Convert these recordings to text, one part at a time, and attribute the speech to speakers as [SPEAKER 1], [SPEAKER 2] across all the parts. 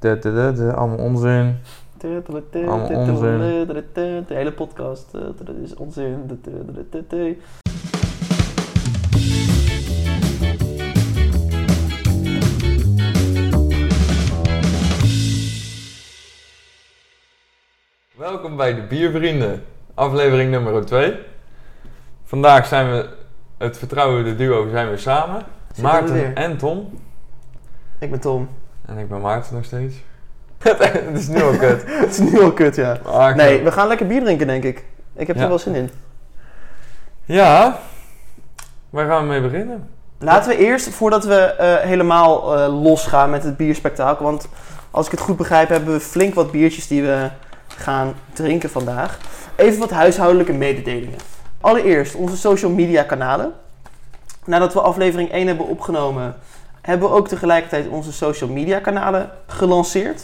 [SPEAKER 1] Da, da, da, da, allemaal onzin. Allemaal onzin.
[SPEAKER 2] De hele podcast eh, dat is onzin.
[SPEAKER 1] Welkom bij de Biervrienden, aflevering nummer 2. Vandaag zijn we, het vertrouwde duo zijn we samen.
[SPEAKER 2] Zitten we
[SPEAKER 1] Maarten
[SPEAKER 2] weer.
[SPEAKER 1] en Tom.
[SPEAKER 2] Ik ben Tom.
[SPEAKER 1] En ik ben Maarten nog steeds. het is nu al kut. Ah,
[SPEAKER 2] Het is nu al kut, ja.
[SPEAKER 1] Maar ik-
[SPEAKER 2] Nee, we gaan lekker bier drinken, denk ik. Ik heb
[SPEAKER 1] Ja.
[SPEAKER 2] er wel zin in.
[SPEAKER 1] Ja, waar gaan we mee beginnen?
[SPEAKER 2] Laten we eerst, voordat we eh, helemaal eh losgaan met het bierspektakel, want als ik het goed begrijp hebben we flink wat biertjes die we gaan drinken vandaag. Even wat huishoudelijke mededelingen. Allereerst onze social media kanalen. Nadat we aflevering 1 hebben opgenomen, hebben we ook tegelijkertijd onze social media kanalen gelanceerd.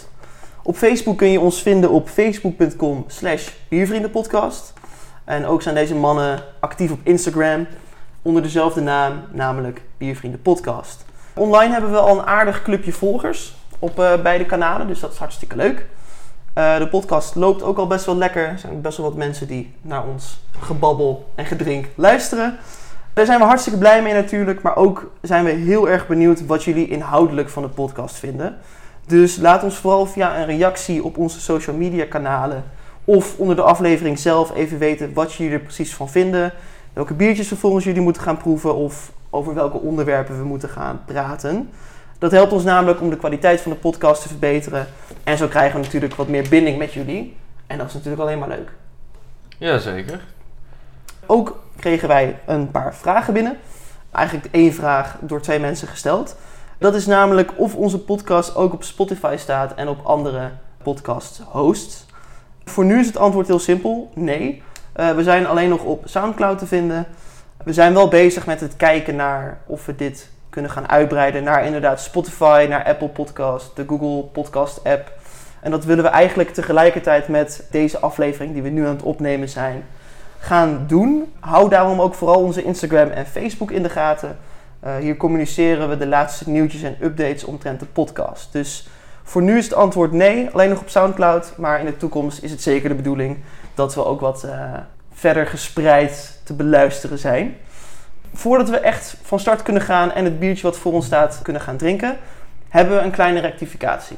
[SPEAKER 2] Op Facebook kun je ons vinden op facebook.com slash biervriendenpodcast. En ook zijn deze mannen actief op Instagram onder dezelfde naam, namelijk Biervrienden Podcast. Online hebben we al een aardig clubje volgers op eh, beide kanalen, dus dat is hartstikke leuk. Eh, de podcast loopt ook al best wel lekker. Er zijn best wel wat mensen die naar ons gebabbel en gedrink luisteren. Daar zijn we hartstikke blij mee natuurlijk, maar ook zijn we heel erg benieuwd wat jullie inhoudelijk van de podcast vinden. Dus laat ons vooral via een reactie op onze social media kanalen of onder de aflevering zelf even weten wat jullie er precies van vinden welke biertjes we volgens jullie moeten gaan proeven of over welke onderwerpen we moeten gaan praten. Dat helpt ons namelijk om de kwaliteit van de podcast te verbeteren. En zo krijgen we natuurlijk wat meer binding met jullie. En dat is natuurlijk alleen maar leuk.
[SPEAKER 1] Jazeker.
[SPEAKER 2] Ook kregen wij een paar vragen binnen. Eigenlijk één vraag door twee mensen gesteld. Dat is namelijk of onze podcast ook op Spotify staat en op andere podcast hosts. Voor nu is het antwoord heel simpel: nee. Eh, we zijn alleen nog op SoundCloud te vinden. We zijn wel bezig met het kijken naar of we dit kunnen gaan uitbreiden naar inderdaad Spotify, naar Apple Podcast, de Google Podcast app. En dat willen we eigenlijk tegelijkertijd met deze aflevering die we nu aan het opnemen zijn gaan doen. Hou daarom ook vooral onze Instagram en Facebook in de gaten. Eh, hier communiceren we de laatste nieuwtjes en updates omtrent de podcast. Dus voor nu is het antwoord nee, alleen nog op SoundCloud. Maar in de toekomst is het zeker de bedoeling dat we ook wat eh, verder gespreid te beluisteren zijn. Voordat we echt van start kunnen gaan en het biertje wat voor ons staat kunnen gaan drinken, hebben we een kleine rectificatie.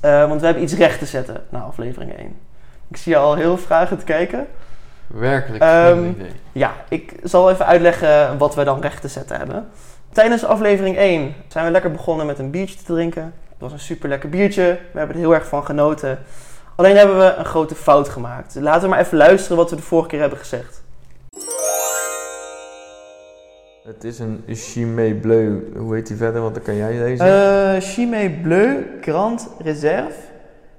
[SPEAKER 2] Eh, want we hebben iets recht te zetten na aflevering 1. Ik zie je al heel vragend kijken.
[SPEAKER 1] Werkelijk
[SPEAKER 2] Ehm,
[SPEAKER 1] geen idee.
[SPEAKER 2] Ja, ik zal even uitleggen wat we dan recht te zetten hebben. Tijdens aflevering 1 zijn we lekker begonnen met een biertje te drinken. Het was een super lekker biertje. We hebben er heel erg van genoten. Alleen hebben we een grote fout gemaakt. Laten we maar even luisteren wat we de vorige keer hebben gezegd.
[SPEAKER 1] Het is een Chimay Bleu. Hoe heet die verder? Want dan kan jij deze.
[SPEAKER 2] Eh Chimay Bleu Grand Reserve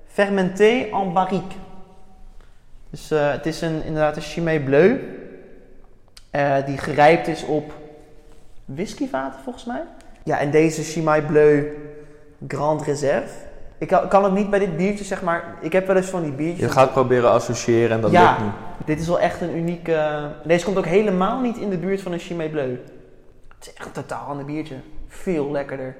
[SPEAKER 2] Fermenté en barrique. Dus eh, het is een, inderdaad een Chimay Bleu eh, die gerijpt is op whiskyvaten volgens mij. Ja, en deze Chimay Bleu Grand Reserve. Ik kan, kan het niet bij dit biertje zeg maar. Ik heb wel eens van die biertjes.
[SPEAKER 1] je gaat proberen associëren en dat
[SPEAKER 2] Ja.
[SPEAKER 1] lukt niet.
[SPEAKER 2] Dit is wel echt een unieke. deze komt ook helemaal niet in de buurt van een Chimay Bleu. Het is echt een totaal ander biertje. Veel lekkerder.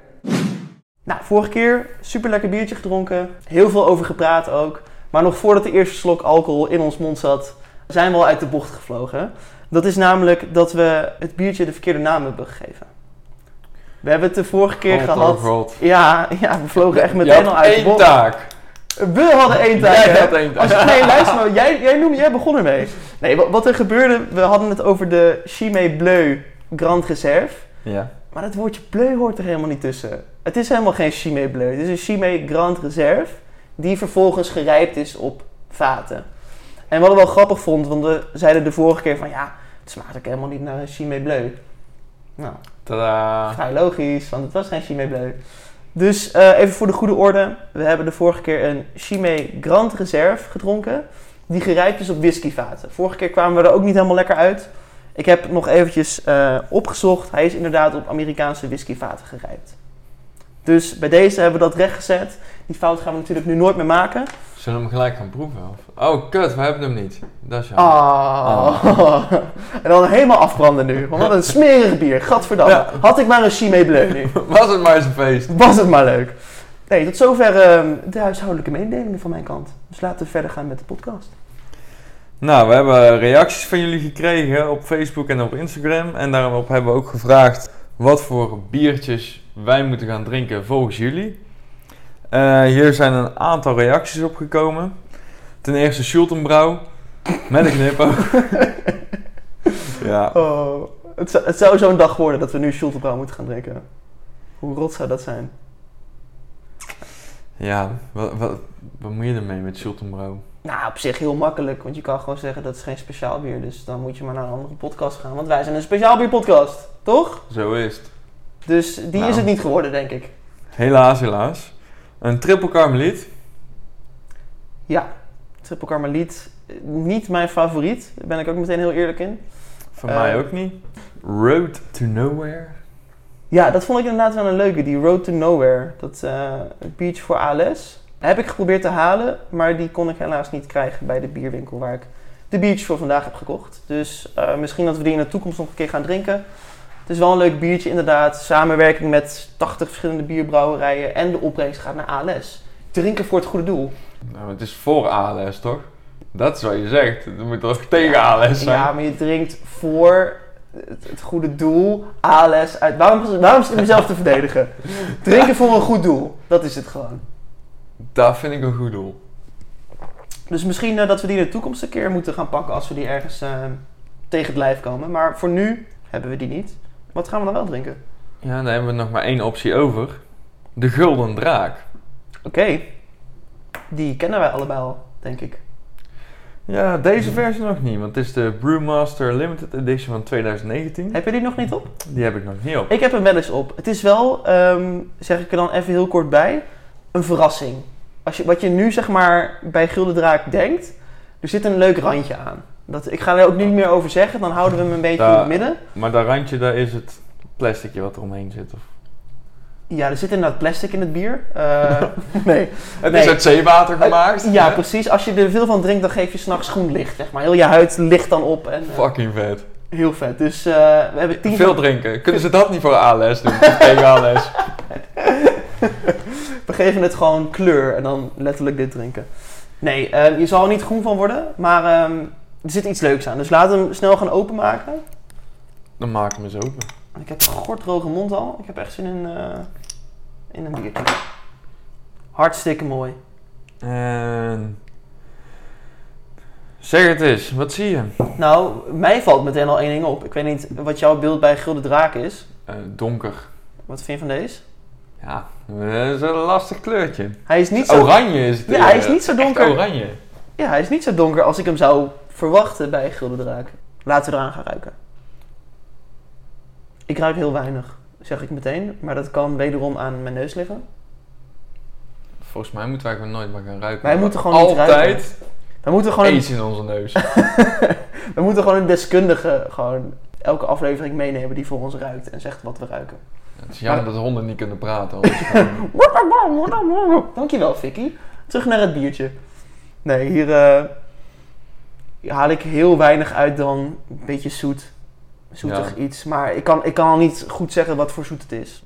[SPEAKER 2] Nou, vorige keer super lekker biertje gedronken. Heel veel over gepraat ook. Maar nog voordat de eerste slok alcohol in ons mond zat, zijn we al uit de bocht gevlogen. Dat is namelijk dat we het biertje de verkeerde naam hebben gegeven. We hebben het de vorige keer
[SPEAKER 1] Oh,
[SPEAKER 2] gehad.
[SPEAKER 1] oh, God.
[SPEAKER 2] Ja, ja, we vlogen echt
[SPEAKER 1] Je
[SPEAKER 2] meteen
[SPEAKER 1] had
[SPEAKER 2] al uit de
[SPEAKER 1] één
[SPEAKER 2] bocht.
[SPEAKER 1] taak.
[SPEAKER 2] We hadden één taak.
[SPEAKER 1] Jij
[SPEAKER 2] hè?
[SPEAKER 1] had één taak.
[SPEAKER 2] Als je, nee, luister maar. Jij, jij, noemde, jij begon ermee. Nee, wat, wat er gebeurde... We hadden het over de Chimay Bleu Grand Reserve.
[SPEAKER 1] Ja.
[SPEAKER 2] Maar dat woordje bleu hoort er helemaal niet tussen. Het is helemaal geen Chimay Bleu. Het is een Chimay Grand Reserve. Die vervolgens gerijpt is op vaten. En wat ik wel grappig vond... Want we zeiden de vorige keer van... Ja, het smaakt ook helemaal niet naar een Chimay Bleu. Nou,
[SPEAKER 1] Tadaa.
[SPEAKER 2] Vrij logisch, want het was geen Chimay Bleu. Dus eh, even voor de goede orde. We hebben de vorige keer een Chimay Grand Reserve gedronken. Die gerijpt is op whiskyvaten. Vorige keer kwamen we er ook niet helemaal lekker uit. Ik heb nog eventjes eh, opgezocht. Hij is inderdaad op Amerikaanse whiskyvaten gerijpt. Dus bij deze hebben we dat rechtgezet. Die fout gaan we natuurlijk nu nooit meer maken.
[SPEAKER 1] Zullen we hem gelijk gaan proeven? Of? Oh, kut, we hebben hem niet. Dat is jammer.
[SPEAKER 2] Ah. en dan helemaal afbranden nu. Want wat een smerig bier. Gadverdamme.
[SPEAKER 1] Ja.
[SPEAKER 2] Had ik maar een Chimay Bleu nu.
[SPEAKER 1] Was het maar eens een feest.
[SPEAKER 2] Was het maar leuk. Nee, tot zover ehm, de huishoudelijke mededelingen van mijn kant. Dus laten we verder gaan met de podcast.
[SPEAKER 1] Nou, we hebben reacties van jullie gekregen op Facebook en op Instagram. En daarop hebben we ook gevraagd wat voor biertjes wij moeten gaan drinken volgens jullie. Eh, hier zijn een aantal reacties op gekomen. Ten eerste Schultenbrouw met een knipoog. ja,
[SPEAKER 2] Oh, het zou, het zou zo'n dag worden dat we nu Schultebrouw moeten gaan drinken. Hoe rot zou dat zijn?
[SPEAKER 1] ja wat, wat, wat moet je ermee met Schultenbrouw?
[SPEAKER 2] Nou, op zich heel makkelijk, want je kan gewoon zeggen dat is geen speciaal bier. Dus dan moet je maar naar een andere podcast gaan, want wij zijn een speciaal bierpodcast, toch?
[SPEAKER 1] Zo is het.
[SPEAKER 2] Dus die
[SPEAKER 1] Nou.
[SPEAKER 2] is het niet geworden, denk ik.
[SPEAKER 1] Helaas, helaas. Een triple karmeliet.
[SPEAKER 2] Ja, Triple Carmeliet, eh, niet mijn favoriet. Daar ben ik ook meteen heel eerlijk in.
[SPEAKER 1] Van
[SPEAKER 2] Eh.
[SPEAKER 1] mij ook niet. Road to Nowhere.
[SPEAKER 2] Ja, dat vond ik inderdaad wel een leuke, die Road to Nowhere. Dat eh biertje voor ALS. Heb ik geprobeerd te halen, maar die kon ik helaas niet krijgen bij de bierwinkel waar ik de biertjes voor vandaag heb gekocht. Dus eh, misschien dat we die in de toekomst nog een keer gaan drinken. Het is wel een leuk biertje inderdaad. Samenwerking met 80 verschillende bierbrouwerijen en de opbrengst gaat naar ALS. Drinken voor het goede doel.
[SPEAKER 1] Nou, het is voor ALS, toch? Dat is wat je zegt. Het moet toch tegen ALS zijn?
[SPEAKER 2] Ja, maar je drinkt voor het, het goede doel ALS uit. Waarom, waarom zit ik mezelf te verdedigen? Drinken voor een goed doel. Dat is het gewoon.
[SPEAKER 1] Dat vind ik een goed doel.
[SPEAKER 2] Dus misschien eh, dat we die in de toekomst een keer moeten gaan pakken als we die ergens eh, tegen het lijf komen. Maar voor nu hebben we die niet. Wat gaan we dan wel drinken?
[SPEAKER 1] Ja, dan hebben we nog maar één optie over. De Gulden Draak.
[SPEAKER 2] Oké, die kennen wij allebei al, denk ik.
[SPEAKER 1] Ja, deze versie nog niet, want het is de Brewmaster Limited Edition van 2019.
[SPEAKER 2] Heb je die nog niet op?
[SPEAKER 1] Die heb ik nog niet op.
[SPEAKER 2] Ik heb hem wel eens op. Het is wel, ehm, zeg ik er dan even heel kort bij, een verrassing. Als je, wat je nu zeg maar bij Gulden Draak denkt, er zit een leuk randje aan. Dat, ik ga er ook niet meer over zeggen, dan houden we hem een beetje in
[SPEAKER 1] Daar-
[SPEAKER 2] het midden.
[SPEAKER 1] Maar dat randje, daar is het plasticje wat eromheen zit. Of...
[SPEAKER 2] Ja, er zit inderdaad plastic in het bier. Eh, nee,
[SPEAKER 1] Het
[SPEAKER 2] Nee.
[SPEAKER 1] is uit zeewater gemaakt.
[SPEAKER 2] Ja,
[SPEAKER 1] hè?
[SPEAKER 2] precies. Als je er veel van drinkt, dan geef je s'nachts groen licht. Zeg maar. Heel je huid ligt dan op. En, eh,
[SPEAKER 1] Fucking vet.
[SPEAKER 2] heel vet. Dus eh, we hebben tien,
[SPEAKER 1] Veel drinken. Kunnen ze dat niet voor ALS doen? tegen ALS.
[SPEAKER 2] we geven het gewoon kleur en dan letterlijk dit drinken. Nee, eh, je zal er niet groen van worden, maar ehm, er zit iets leuks aan. Dus laten we hem snel gaan openmaken.
[SPEAKER 1] Dan maken we ze open.
[SPEAKER 2] Ik heb een gortroge mond al. Ik heb echt zin in, eh, in een biertje. Hartstikke mooi.
[SPEAKER 1] En... Zeg het eens, wat zie je?
[SPEAKER 2] Nou, mij valt meteen al één ding op. Ik weet niet wat jouw beeld bij Gulden Draak is.
[SPEAKER 1] Eh, donker.
[SPEAKER 2] Wat vind je van deze?
[SPEAKER 1] Ja, dat is een lastig kleurtje.
[SPEAKER 2] Hij is niet zo...
[SPEAKER 1] Oranje is het.
[SPEAKER 2] Ja,
[SPEAKER 1] eh,
[SPEAKER 2] hij is niet zo
[SPEAKER 1] echt
[SPEAKER 2] donker.
[SPEAKER 1] oranje.
[SPEAKER 2] Ja, hij is niet zo donker als ik hem zou verwachten bij Gulden Draak. Laten we eraan gaan ruiken. Ik ruik heel weinig, zeg ik meteen. Maar dat kan wederom aan mijn neus liggen.
[SPEAKER 1] Volgens mij moeten wij gewoon nooit meer gaan ruiken.
[SPEAKER 2] Wij
[SPEAKER 1] We
[SPEAKER 2] moeten
[SPEAKER 1] hebben
[SPEAKER 2] gewoon niet
[SPEAKER 1] altijd
[SPEAKER 2] We moeten gewoon een,
[SPEAKER 1] iets in onze neus.
[SPEAKER 2] we moeten gewoon een deskundige gewoon elke aflevering meenemen die voor ons ruikt en zegt wat we ruiken.
[SPEAKER 1] het is jammer dat honden niet kunnen praten. anders gewoon-
[SPEAKER 2] Dankjewel, Vicky. Terug naar het biertje. Nee, hier eh, haal ik heel weinig uit dan een beetje zoet. Zoetig iets. Maar ik kan, ik kan al niet goed zeggen wat voor zoet het is.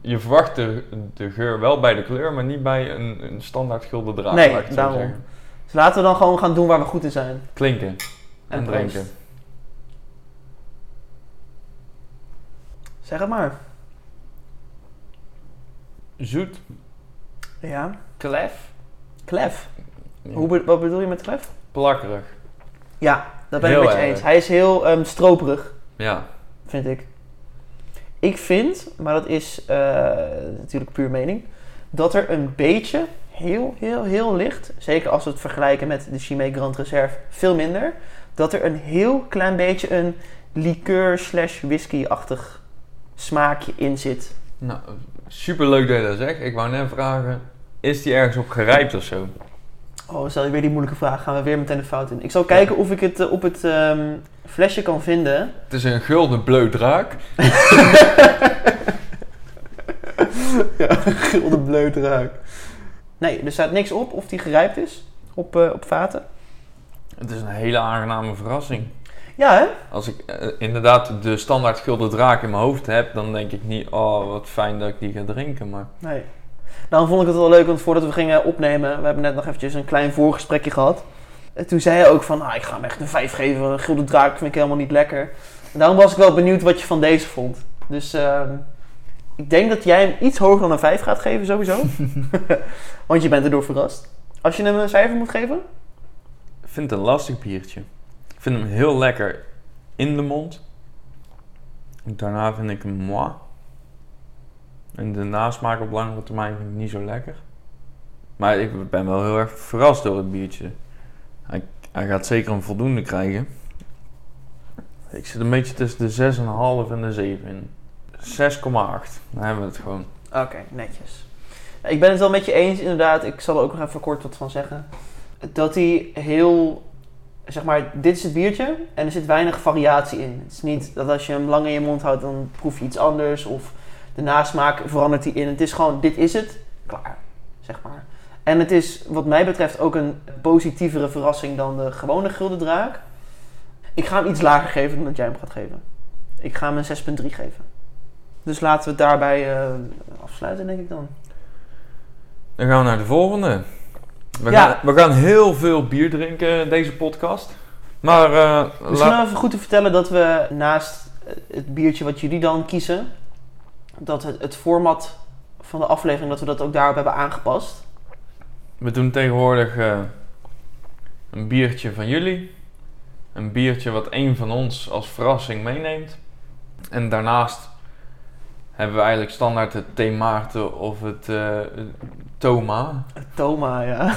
[SPEAKER 1] je verwacht de, de geur wel bij de kleur, maar niet bij een, een standaard gulden draad.
[SPEAKER 2] Nee,
[SPEAKER 1] laat ik het zo
[SPEAKER 2] daarom.
[SPEAKER 1] zeggen.
[SPEAKER 2] Dus laten we dan gewoon gaan doen waar we goed in zijn.
[SPEAKER 1] Klinken en,
[SPEAKER 2] En proost.
[SPEAKER 1] drinken.
[SPEAKER 2] Zeg het maar.
[SPEAKER 1] Zoet.
[SPEAKER 2] Ja.
[SPEAKER 1] Klef.
[SPEAKER 2] Klef. Hoe be- wat bedoel je met klef?
[SPEAKER 1] Plakkerig.
[SPEAKER 2] Ja, dat ben ik
[SPEAKER 1] Heel
[SPEAKER 2] met je
[SPEAKER 1] erg.
[SPEAKER 2] eens. Hij is heel ehm, stroperig,
[SPEAKER 1] Ja.
[SPEAKER 2] vind ik. Ik vind, maar dat is eh, natuurlijk puur mening, dat er een beetje, heel, heel, heel licht, zeker als we het vergelijken met de Chimay Grand Reserve, veel minder, dat er een heel klein beetje een liqueur slash whisky-achtig smaakje in zit.
[SPEAKER 1] Nou, superleuk dat je dat zegt. Ik wou net vragen, is die ergens op gerijpt of zo?
[SPEAKER 2] Oh, stel je weer die moeilijke vraag. Gaan we weer meteen de fout in. Ik zal kijken of ik het eh, op het ehm, flesje kan vinden.
[SPEAKER 1] Het is een gulden bleu draak.
[SPEAKER 2] ja, gilde bleut ruik. Nee, er staat niks op of die gerijpt is op, eh, op vaten.
[SPEAKER 1] Het is een hele aangename verrassing.
[SPEAKER 2] Ja, hè?
[SPEAKER 1] Als ik eh, inderdaad de standaard gulden draak in mijn hoofd heb, dan denk ik niet, oh wat fijn dat ik die ga drinken. Maar
[SPEAKER 2] Nee. Daarom vond ik het wel leuk, want voordat we gingen opnemen, we hebben net nog eventjes een klein voorgesprekje gehad. En toen zei hij ook van, ah, ik ga hem echt een 5 geven, een gulden draak vind ik helemaal niet lekker. En daarom was ik wel benieuwd wat je van deze vond. Dus ehm, ik denk dat jij hem iets hoger dan een 5 gaat geven sowieso. want je bent erdoor verrast. Als je hem een cijfer moet geven?
[SPEAKER 1] Ik vind het een lastig biertje. Ik vind hem heel lekker in de mond. En Daarna vind ik hem moi. En de nasmaak op langere termijn vind ik niet zo lekker. Maar ik ben wel heel erg verrast door het biertje. Hij, hij gaat zeker een voldoende krijgen. Ik zit een beetje tussen de 6,5 en de 7 in. 6,8. Dan hebben we het gewoon.
[SPEAKER 2] Oké, netjes. Ik ben het wel met je eens, inderdaad. Ik zal er ook nog even kort wat van zeggen. Dat hij heel, zeg maar, dit is het biertje en er zit weinig variatie in. Het is niet dat als je hem lang in je mond houdt, dan proef je iets anders of de nasmaak verandert die in. Het is gewoon, dit is het, klaar, zeg maar. En het is, wat mij betreft, ook een positievere verrassing dan de gewone Gulden Draak. Ik ga hem iets lager geven dan dat jij hem gaat geven. Ik ga hem een 6,3 geven. Dus laten we het daarbij eh, afsluiten, denk ik dan.
[SPEAKER 1] Dan gaan we naar de volgende. We,
[SPEAKER 2] Ja.
[SPEAKER 1] gaan, we gaan heel veel bier drinken in deze podcast. Maar eh, la-
[SPEAKER 2] Misschien wel even goed te vertellen dat we naast eh, het biertje wat jullie dan kiezen, dat het, het format van de aflevering, dat we dat ook daarop hebben aangepast.
[SPEAKER 1] we doen tegenwoordig eh, een biertje van jullie. Een biertje wat één van ons als verrassing meeneemt. En daarnaast hebben we eigenlijk standaard het Thee Maarten of het eh, Toma.
[SPEAKER 2] Het Toma, ja.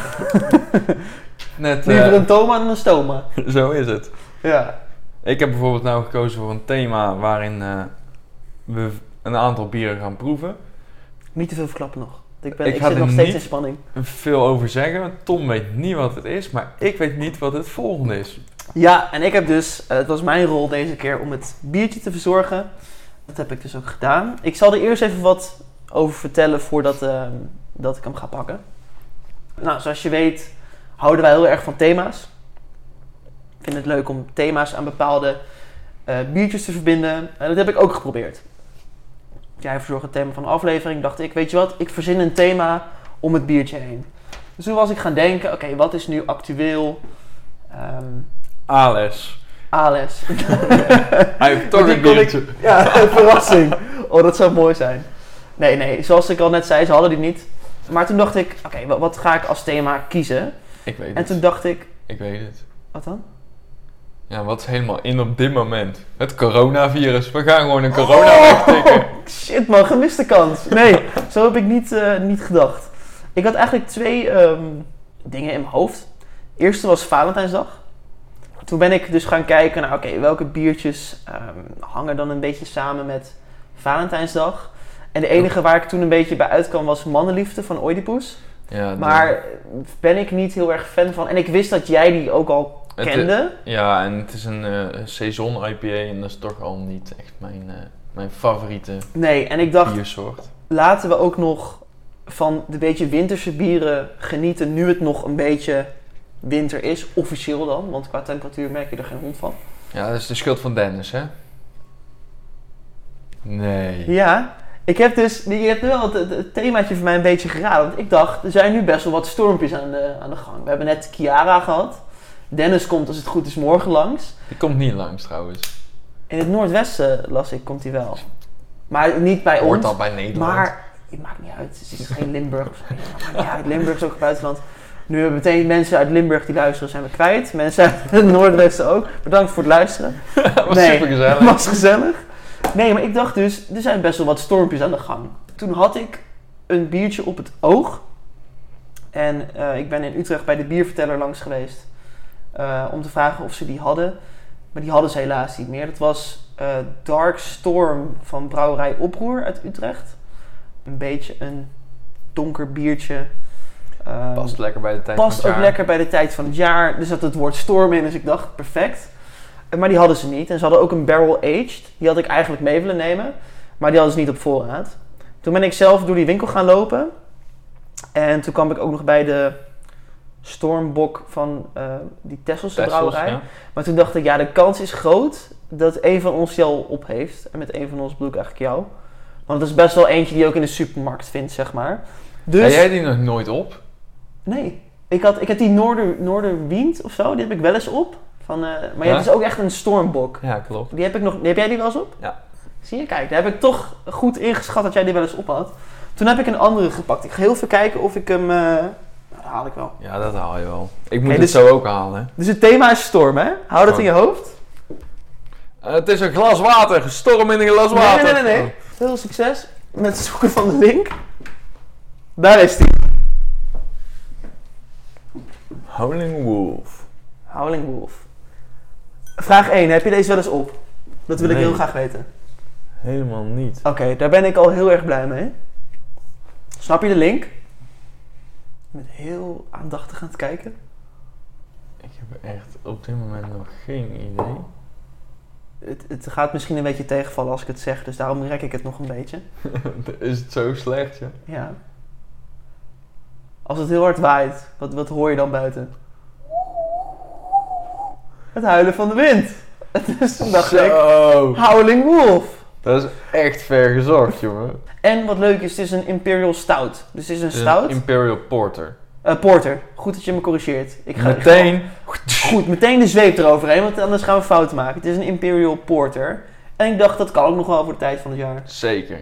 [SPEAKER 1] Net, eh,
[SPEAKER 2] Liever een Toma dan een Stoma.
[SPEAKER 1] zo is het.
[SPEAKER 2] Ja.
[SPEAKER 1] Ik heb bijvoorbeeld nou gekozen voor een thema waarin eh, we een aantal bieren gaan proeven.
[SPEAKER 2] Niet te veel verklappen nog. Ik, ben,
[SPEAKER 1] Ik
[SPEAKER 2] ik,
[SPEAKER 1] ga
[SPEAKER 2] zit
[SPEAKER 1] er
[SPEAKER 2] nog steeds
[SPEAKER 1] niet-
[SPEAKER 2] in spanning.
[SPEAKER 1] veel over zeggen. Tom weet niet wat het is, maar ik weet niet wat het volgende is.
[SPEAKER 2] Ja, en ik heb dus, eh, het was mijn rol deze keer om het biertje te verzorgen. Dat heb ik dus ook gedaan. Ik zal er eerst even wat over vertellen voordat ehm, dat ik hem ga pakken. Nou, zoals je weet houden wij heel erg van thema's. Ik vind het leuk om thema's aan bepaalde eh, biertjes te verbinden. En dat heb ik ook geprobeerd. Jij verzorgt het thema van een aflevering. Dacht ik, weet je wat, ik verzin een thema om het biertje heen. Dus toen was ik gaan denken, oké, wat is nu actueel? Ehm,
[SPEAKER 1] Ales.
[SPEAKER 2] ALS.
[SPEAKER 1] Hij heeft toch
[SPEAKER 2] Die
[SPEAKER 1] een
[SPEAKER 2] kon
[SPEAKER 1] biertje.
[SPEAKER 2] ja, een verrassing. Oh, dat zou mooi zijn. Nee, nee, zoals ik al net zei, ze hadden die niet. Maar toen dacht ik, oké, wa- wat ga ik als thema kiezen?
[SPEAKER 1] Ik weet
[SPEAKER 2] En
[SPEAKER 1] het.
[SPEAKER 2] toen dacht ik,
[SPEAKER 1] Ik weet het.
[SPEAKER 2] wat dan?
[SPEAKER 1] Ja, wat is helemaal in op dit moment? Het coronavirus. We gaan gewoon een corona wegtikken.
[SPEAKER 2] Oh, shit man, gemiste kans. Nee, zo heb ik niet, eh, niet gedacht. Ik had eigenlijk twee ehm, dingen in mijn hoofd. De eerste was Valentijnsdag. Toen ben ik dus gaan kijken naar, oké, welke biertjes ehm, hangen dan een beetje samen met Valentijnsdag. En de enige waar ik toen een beetje bij uitkwam was Mannenliefde van Oedipus.
[SPEAKER 1] Ja, de-
[SPEAKER 2] Maar ben ik niet heel erg fan van. En ik wist dat jij die ook al
[SPEAKER 1] Het- eh,
[SPEAKER 2] kende.
[SPEAKER 1] ja, en het is een eh, seizoen IPA en dat is toch al niet echt mijn, eh, mijn favoriete
[SPEAKER 2] Nee, en ik dacht,
[SPEAKER 1] biersoort.
[SPEAKER 2] laten we ook nog van de beetje winterse bieren genieten. Nu het nog een beetje winter is, officieel dan. Want qua temperatuur merk je er geen hond van.
[SPEAKER 1] Ja, dat is de schuld van Dennis, hè? Nee.
[SPEAKER 2] Ja, ik heb dus, je hebt wel het, het- het themaatje voor mij een beetje geraden. Want ik dacht, er zijn nu best wel wat stormpjes aan de, aan de gang. We hebben net Kiara gehad. Dennis komt als het goed is morgen langs.
[SPEAKER 1] Die komt niet langs trouwens.
[SPEAKER 2] In het noordwesten, las ik, komt hij wel. Maar niet bij ons.
[SPEAKER 1] Hoort al bij Nederland.
[SPEAKER 2] Maar het maakt niet uit. Het is geen Limburg. of zo. Het maakt niet uit. Limburg is ook het buitenland. Nu hebben we meteen mensen uit Limburg die luisteren, zijn we kwijt. Mensen uit het Noordwesten ook. Bedankt voor het luisteren.
[SPEAKER 1] dat was
[SPEAKER 2] Nee.
[SPEAKER 1] super gezellig.
[SPEAKER 2] Was gezellig. Nee, maar ik dacht dus, er zijn best wel wat stormpjes aan de gang. Toen had ik een biertje op het oog. En eh, ik ben in Utrecht bij de bierverteller langs geweest. eh, om te vragen of ze die hadden. Maar die hadden ze helaas niet meer. Dat was eh, Dark Storm van Brouwerij Oproer uit Utrecht. Een beetje een donker biertje. Ehm,
[SPEAKER 1] Past lekker bij de tijd
[SPEAKER 2] past
[SPEAKER 1] van het
[SPEAKER 2] ook
[SPEAKER 1] jaar.
[SPEAKER 2] lekker bij de tijd van het jaar. Er zat het woord storm in, dus ik dacht, perfect. Eh, Maar die hadden ze niet. En ze hadden ook een barrel aged. Die had ik eigenlijk mee willen nemen. Maar die hadden ze niet op voorraad. Toen ben ik zelf door die winkel gaan lopen. En toen kwam ik ook nog bij de stormbok van eh, die Tesselse
[SPEAKER 1] Tessels,
[SPEAKER 2] brouwerij.
[SPEAKER 1] ja.
[SPEAKER 2] Maar toen dacht ik, ja, de kans is groot dat een van ons die al op heeft. En met een van ons bedoel ik eigenlijk jou. Want dat is best wel eentje die je ook in de supermarkt vindt, zeg maar.
[SPEAKER 1] Heb
[SPEAKER 2] Dus,
[SPEAKER 1] jij die nog nooit op?
[SPEAKER 2] nee. Ik, had, ik heb die Noorder, Noorderwind of zo, die heb ik wel eens op. Van, eh, maar
[SPEAKER 1] Ja?
[SPEAKER 2] ja, het is ook echt een stormbok.
[SPEAKER 1] Ja, klopt.
[SPEAKER 2] Die heb ik nog. Heb jij die wel eens op?
[SPEAKER 1] Ja.
[SPEAKER 2] Zie je, kijk, daar heb ik toch goed ingeschat dat jij die wel eens op had. Toen heb ik een andere gepakt. Ik ga heel even kijken of ik hem. eh, nou, dat haal ik wel.
[SPEAKER 1] Ja, dat haal je wel. Ik moet
[SPEAKER 2] Nee,
[SPEAKER 1] het
[SPEAKER 2] dus-
[SPEAKER 1] zo ook halen.
[SPEAKER 2] Dus het thema is storm, hè? Hou dat in je hoofd.
[SPEAKER 1] Eh, het is een glas water. Storm in een glas
[SPEAKER 2] Nee,
[SPEAKER 1] water.
[SPEAKER 2] nee, nee, nee. nee. Veel succes met het zoeken van de link. Daar is die.
[SPEAKER 1] Oh. Howling Wolf.
[SPEAKER 2] Howling Wolf. Vraag 1. Heb je deze wel eens op? Dat wil ik
[SPEAKER 1] Nee.
[SPEAKER 2] heel graag weten.
[SPEAKER 1] Helemaal niet.
[SPEAKER 2] Oké, daar ben ik al heel erg blij mee. Snap je de link? Ik ben heel aandachtig aan het kijken.
[SPEAKER 1] Ik heb echt op dit moment nog geen idee.
[SPEAKER 2] Het, het gaat misschien een beetje tegenvallen als ik het zeg, dus daarom rek ik het nog een beetje.
[SPEAKER 1] is het zo slecht, ja?
[SPEAKER 2] Ja. Als het heel hard waait, wat, wat hoor je dan buiten? Het huilen van de wind. Het is een dacht ik,
[SPEAKER 1] Zo.
[SPEAKER 2] Howling Wolf.
[SPEAKER 1] Dat is echt ver gezocht, jongen.
[SPEAKER 2] En wat leuk is, het is een Imperial Stout. Dus het is een
[SPEAKER 1] Het is
[SPEAKER 2] stout.
[SPEAKER 1] Imperial Porter.
[SPEAKER 2] Eh, porter, goed dat je me corrigeert. Ik ga,
[SPEAKER 1] Meteen.
[SPEAKER 2] Goed, meteen de zweep eroverheen, want anders gaan we fouten maken. Het is een Imperial Porter. En ik dacht, dat kan ook nog wel voor de tijd van het jaar.
[SPEAKER 1] Zeker.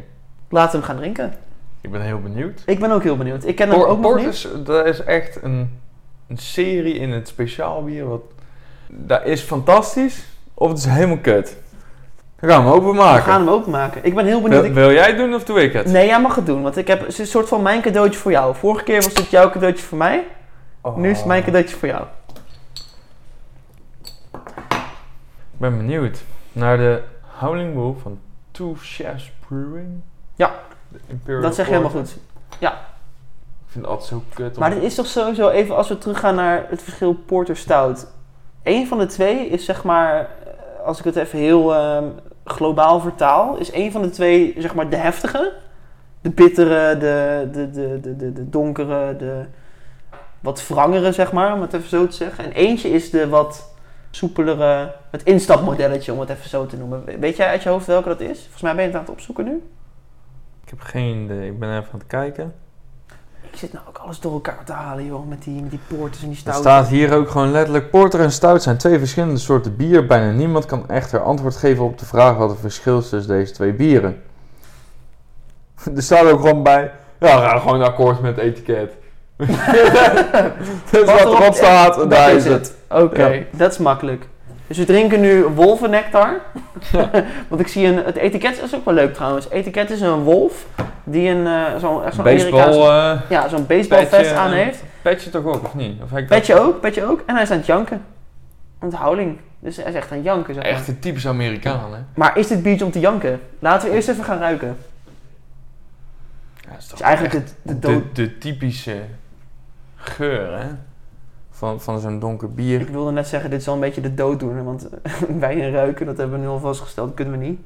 [SPEAKER 2] Laten we hem gaan drinken.
[SPEAKER 1] Ik ben heel benieuwd.
[SPEAKER 2] Ik ben ook heel benieuwd. Ik ken hem
[SPEAKER 1] Por-
[SPEAKER 2] ook nog niet.
[SPEAKER 1] Porters, dat is echt een, een serie in het speciaal bier. Wat, dat is fantastisch of het is helemaal kut. We gaan hem
[SPEAKER 2] We
[SPEAKER 1] openmaken.
[SPEAKER 2] gaan hem openmaken. Ik ben heel benieuwd.
[SPEAKER 1] Wil,
[SPEAKER 2] Ik-
[SPEAKER 1] wil jij het doen of doe ik het?
[SPEAKER 2] Nee, jij mag het doen, want ik heb het is een soort van mijn cadeautje voor jou. Vorige keer was het jouw cadeautje voor mij.
[SPEAKER 1] Oh.
[SPEAKER 2] Nu is het mijn cadeautje voor jou.
[SPEAKER 1] Ik ben benieuwd naar de Howling Wolf van Two Chefs Brewing.
[SPEAKER 2] Ja.
[SPEAKER 1] De Imperial
[SPEAKER 2] dat zeg je helemaal
[SPEAKER 1] Porter.
[SPEAKER 2] goed.
[SPEAKER 1] Ik vind het altijd zo kut. om-
[SPEAKER 2] Maar dit is toch sowieso even als we teruggaan naar het verschil porter stout. Eén van de twee is zeg maar, eh, als ik het even heel ehm, globaal vertaal, is één van de twee zeg maar de heftige. De bittere, de, de, de, de, de, de donkere, de wat wrangere zeg maar, om het even zo te zeggen. En eentje is de wat soepelere, het instapmodelletje om het even zo te noemen. We- Weet jij uit je hoofd welke dat is? Volgens mij ben je het aan het opzoeken nu.
[SPEAKER 1] Ik heb geen idee. Ik ben even aan het kijken.
[SPEAKER 2] Ik zit nou ook alles door elkaar te halen joh, met die, met die porters en die
[SPEAKER 1] Er
[SPEAKER 2] stout.
[SPEAKER 1] staat hier ook gewoon letterlijk: Porter en stout zijn twee verschillende soorten bier. Bijna niemand kan echter antwoord geven op de vraag wat het verschil is tussen deze twee bieren. Er staat ook gewoon bij: ja, we gaan gewoon akkoord met het etiket. dat is
[SPEAKER 2] Wat
[SPEAKER 1] wat
[SPEAKER 2] erop-
[SPEAKER 1] erop staat, en
[SPEAKER 2] dat
[SPEAKER 1] daar
[SPEAKER 2] is
[SPEAKER 1] is het.
[SPEAKER 2] Oké, dat is makkelijk. Dus we drinken nu wolvennectar. Want ik zie een... Het etiket is ook wel leuk trouwens. etiket is een wolf die een... eh, zo'n echt zo'n Amerikaans...
[SPEAKER 1] Baseball. eh
[SPEAKER 2] Ja, zo'n baseballvest
[SPEAKER 1] petje,
[SPEAKER 2] aan
[SPEAKER 1] eh,
[SPEAKER 2] heeft.
[SPEAKER 1] petje toch ook, of niet? Of heb ik dat-
[SPEAKER 2] Petje ook, petje ook. En hij is aan het janken. Onthouding. Dus hij is echt aan het janken, zeg maar.
[SPEAKER 1] Echt een typisch Amerikaan, hè?
[SPEAKER 2] Maar is dit beach om te janken? Laten we eerst even gaan ruiken. Het
[SPEAKER 1] Ja, is toch
[SPEAKER 2] is eigenlijk de, de dood...
[SPEAKER 1] de, de typische geur, hè? Van, van zo'n donker bier.
[SPEAKER 2] Ik wilde net zeggen, dit is al een beetje de dooddoener, want wijn en ruiken, dat hebben we nu al vastgesteld, dat kunnen we niet.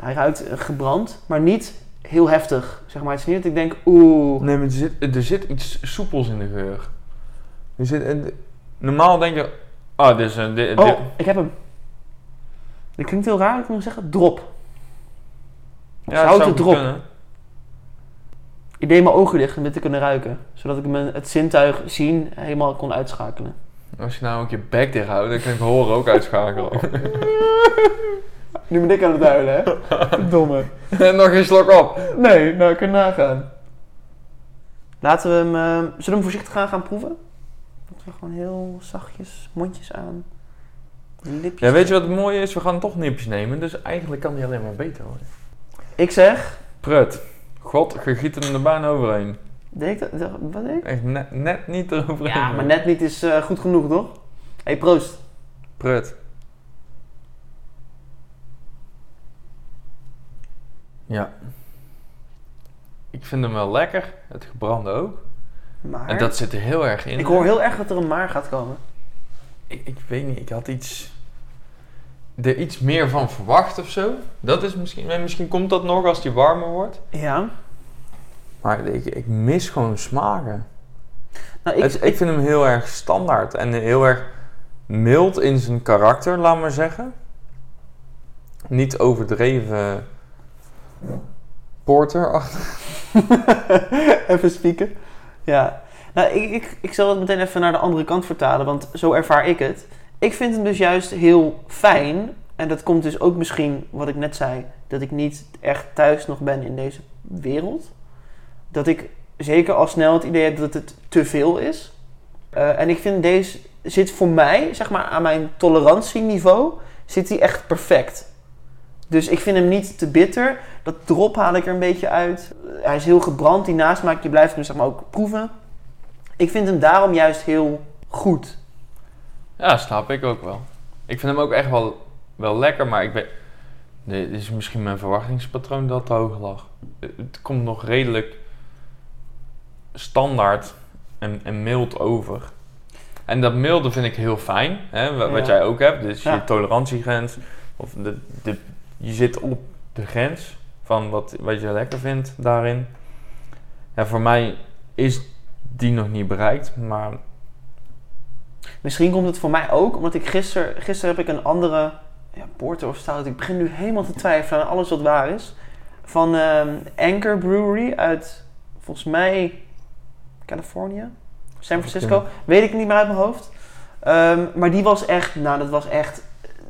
[SPEAKER 2] Hij ruikt eh, gebrand, maar niet heel heftig, zeg maar. Het is niet dat ik denk, oeh,
[SPEAKER 1] Nee, maar er zit, er zit iets soepels in de geur. Er zit, en de- normaal denk je... Oh, dit is een... Dit,
[SPEAKER 2] oh,
[SPEAKER 1] dit-
[SPEAKER 2] ik heb hem. Dit klinkt heel raar, ik moet zeggen, drop.
[SPEAKER 1] dat
[SPEAKER 2] zout
[SPEAKER 1] zou
[SPEAKER 2] het
[SPEAKER 1] goed
[SPEAKER 2] erop.
[SPEAKER 1] kunnen.
[SPEAKER 2] Ik deed mijn ogen dicht om dit te kunnen ruiken, zodat ik mijn, het zintuig zien helemaal kon uitschakelen.
[SPEAKER 1] Als je nou ook je bek dicht houdt, dan kan ik horen ook uitschakelen.
[SPEAKER 2] Nu ben ik aan het huilen, hè? Domme.
[SPEAKER 1] en nog een slok op.
[SPEAKER 2] Nee, nou, ik kan nagaan. Laten we hem... eh, zullen we hem voorzichtig gaan, gaan proeven? Dat we gewoon heel zachtjes, mondjes aan, lipjes...
[SPEAKER 1] Ja, weet je wat het mooie is? We gaan toch nipjes nemen, dus eigenlijk kan die alleen maar beter worden.
[SPEAKER 2] Ik zeg...
[SPEAKER 1] Prut. God, je giet hem er bijna overheen.
[SPEAKER 2] Deed ik dat? dat- Wat deed ik?
[SPEAKER 1] Echt net, net niet eroverheen.
[SPEAKER 2] Ja, maar net niet is eh, goed genoeg, toch? Hé, hey, proost.
[SPEAKER 1] Prut. Ja. Ik vind hem wel lekker. Het gebrande ook.
[SPEAKER 2] Maar...
[SPEAKER 1] En dat zit er heel erg in.
[SPEAKER 2] Ik hoor heel erg dat er een maar gaat komen.
[SPEAKER 1] Ik, ik weet niet, ik had iets... Er iets meer van verwacht of zo. Dat is misschien... en Misschien komt dat nog als die warmer wordt.
[SPEAKER 2] Ja.
[SPEAKER 1] Maar ik, ik mis gewoon smaken.
[SPEAKER 2] Nou, ik...
[SPEAKER 1] Het- ik vind hem heel erg standaard. En heel erg mild in zijn karakter, laat maar zeggen. Niet overdreven... porter achter.
[SPEAKER 2] even spieken. Ja. Nou, ik, ik, ik zal het meteen even naar de andere kant vertalen, want zo ervaar ik het. Ik vind hem dus juist heel fijn. En dat komt dus ook misschien, wat ik net zei, dat ik niet echt thuis nog ben in deze wereld. Dat ik zeker al snel het idee heb dat het te veel is. Eh, en ik vind deze zit voor mij, zeg maar, aan mijn tolerantieniveau, zit hij echt perfect. Dus ik vind hem niet te bitter. Dat drop haal ik er een beetje uit. Hij is heel gebrand. Die nasmaak, je blijft hem zeg maar ook proeven. Ik vind hem daarom juist heel goed.
[SPEAKER 1] Ja, snap ik ook wel. Ik vind hem ook echt wel, wel lekker, maar ik weet... Dit is misschien mijn verwachtingspatroon dat te hoog lag. Het komt nog redelijk standaard en, en mild over. En dat milde vind ik heel fijn, hè, wa- wat
[SPEAKER 2] Ja.
[SPEAKER 1] jij ook hebt. Dus
[SPEAKER 2] Ja.
[SPEAKER 1] je tolerantiegrens, of de, de, je zit op de grens van wat, wat je lekker vindt daarin. En voor mij is die nog niet bereikt, maar
[SPEAKER 2] Misschien komt het voor mij ook, omdat ik gisteren gisteren heb ik een andere ja, porter of stout. Ik begin nu helemaal te twijfelen aan alles wat waar is. Van ehm, Anchor Brewery uit volgens mij Californië, San Francisco. Weet ik niet meer uit mijn hoofd. Ehm, maar die was echt, nou dat was echt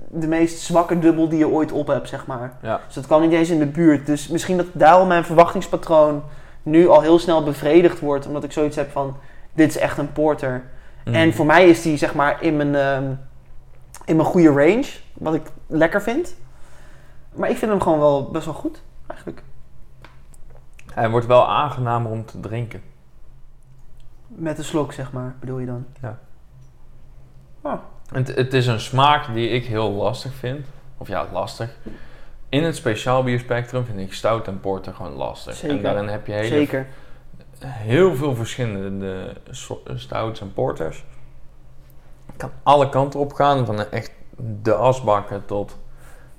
[SPEAKER 2] de meest zwakke dubbel die je ooit op hebt, zeg maar.
[SPEAKER 1] Ja.
[SPEAKER 2] Dus dat kwam niet eens in de buurt. Dus misschien dat daarom mijn verwachtingspatroon nu al heel snel bevredigd wordt. Omdat ik zoiets heb van, dit is echt een porter.
[SPEAKER 1] Mm.
[SPEAKER 2] En voor mij is die zeg maar in mijn, ehm, in mijn goede range, wat ik lekker vind. Maar ik vind hem gewoon wel best wel goed, eigenlijk.
[SPEAKER 1] Hij wordt wel aangenamer om te drinken.
[SPEAKER 2] Met een slok, zeg maar, bedoel je dan?
[SPEAKER 1] Het, het is een smaak die ik heel lastig vind. Of ja, lastig. In het speciaal bierspectrum vind ik stout en porter gewoon lastig.
[SPEAKER 2] Zeker.
[SPEAKER 1] En daarin heb je hele,
[SPEAKER 2] Zeker.
[SPEAKER 1] heel veel verschillende so- stouts en porters. Het kan alle kanten op gaan. Van echt de asbakken tot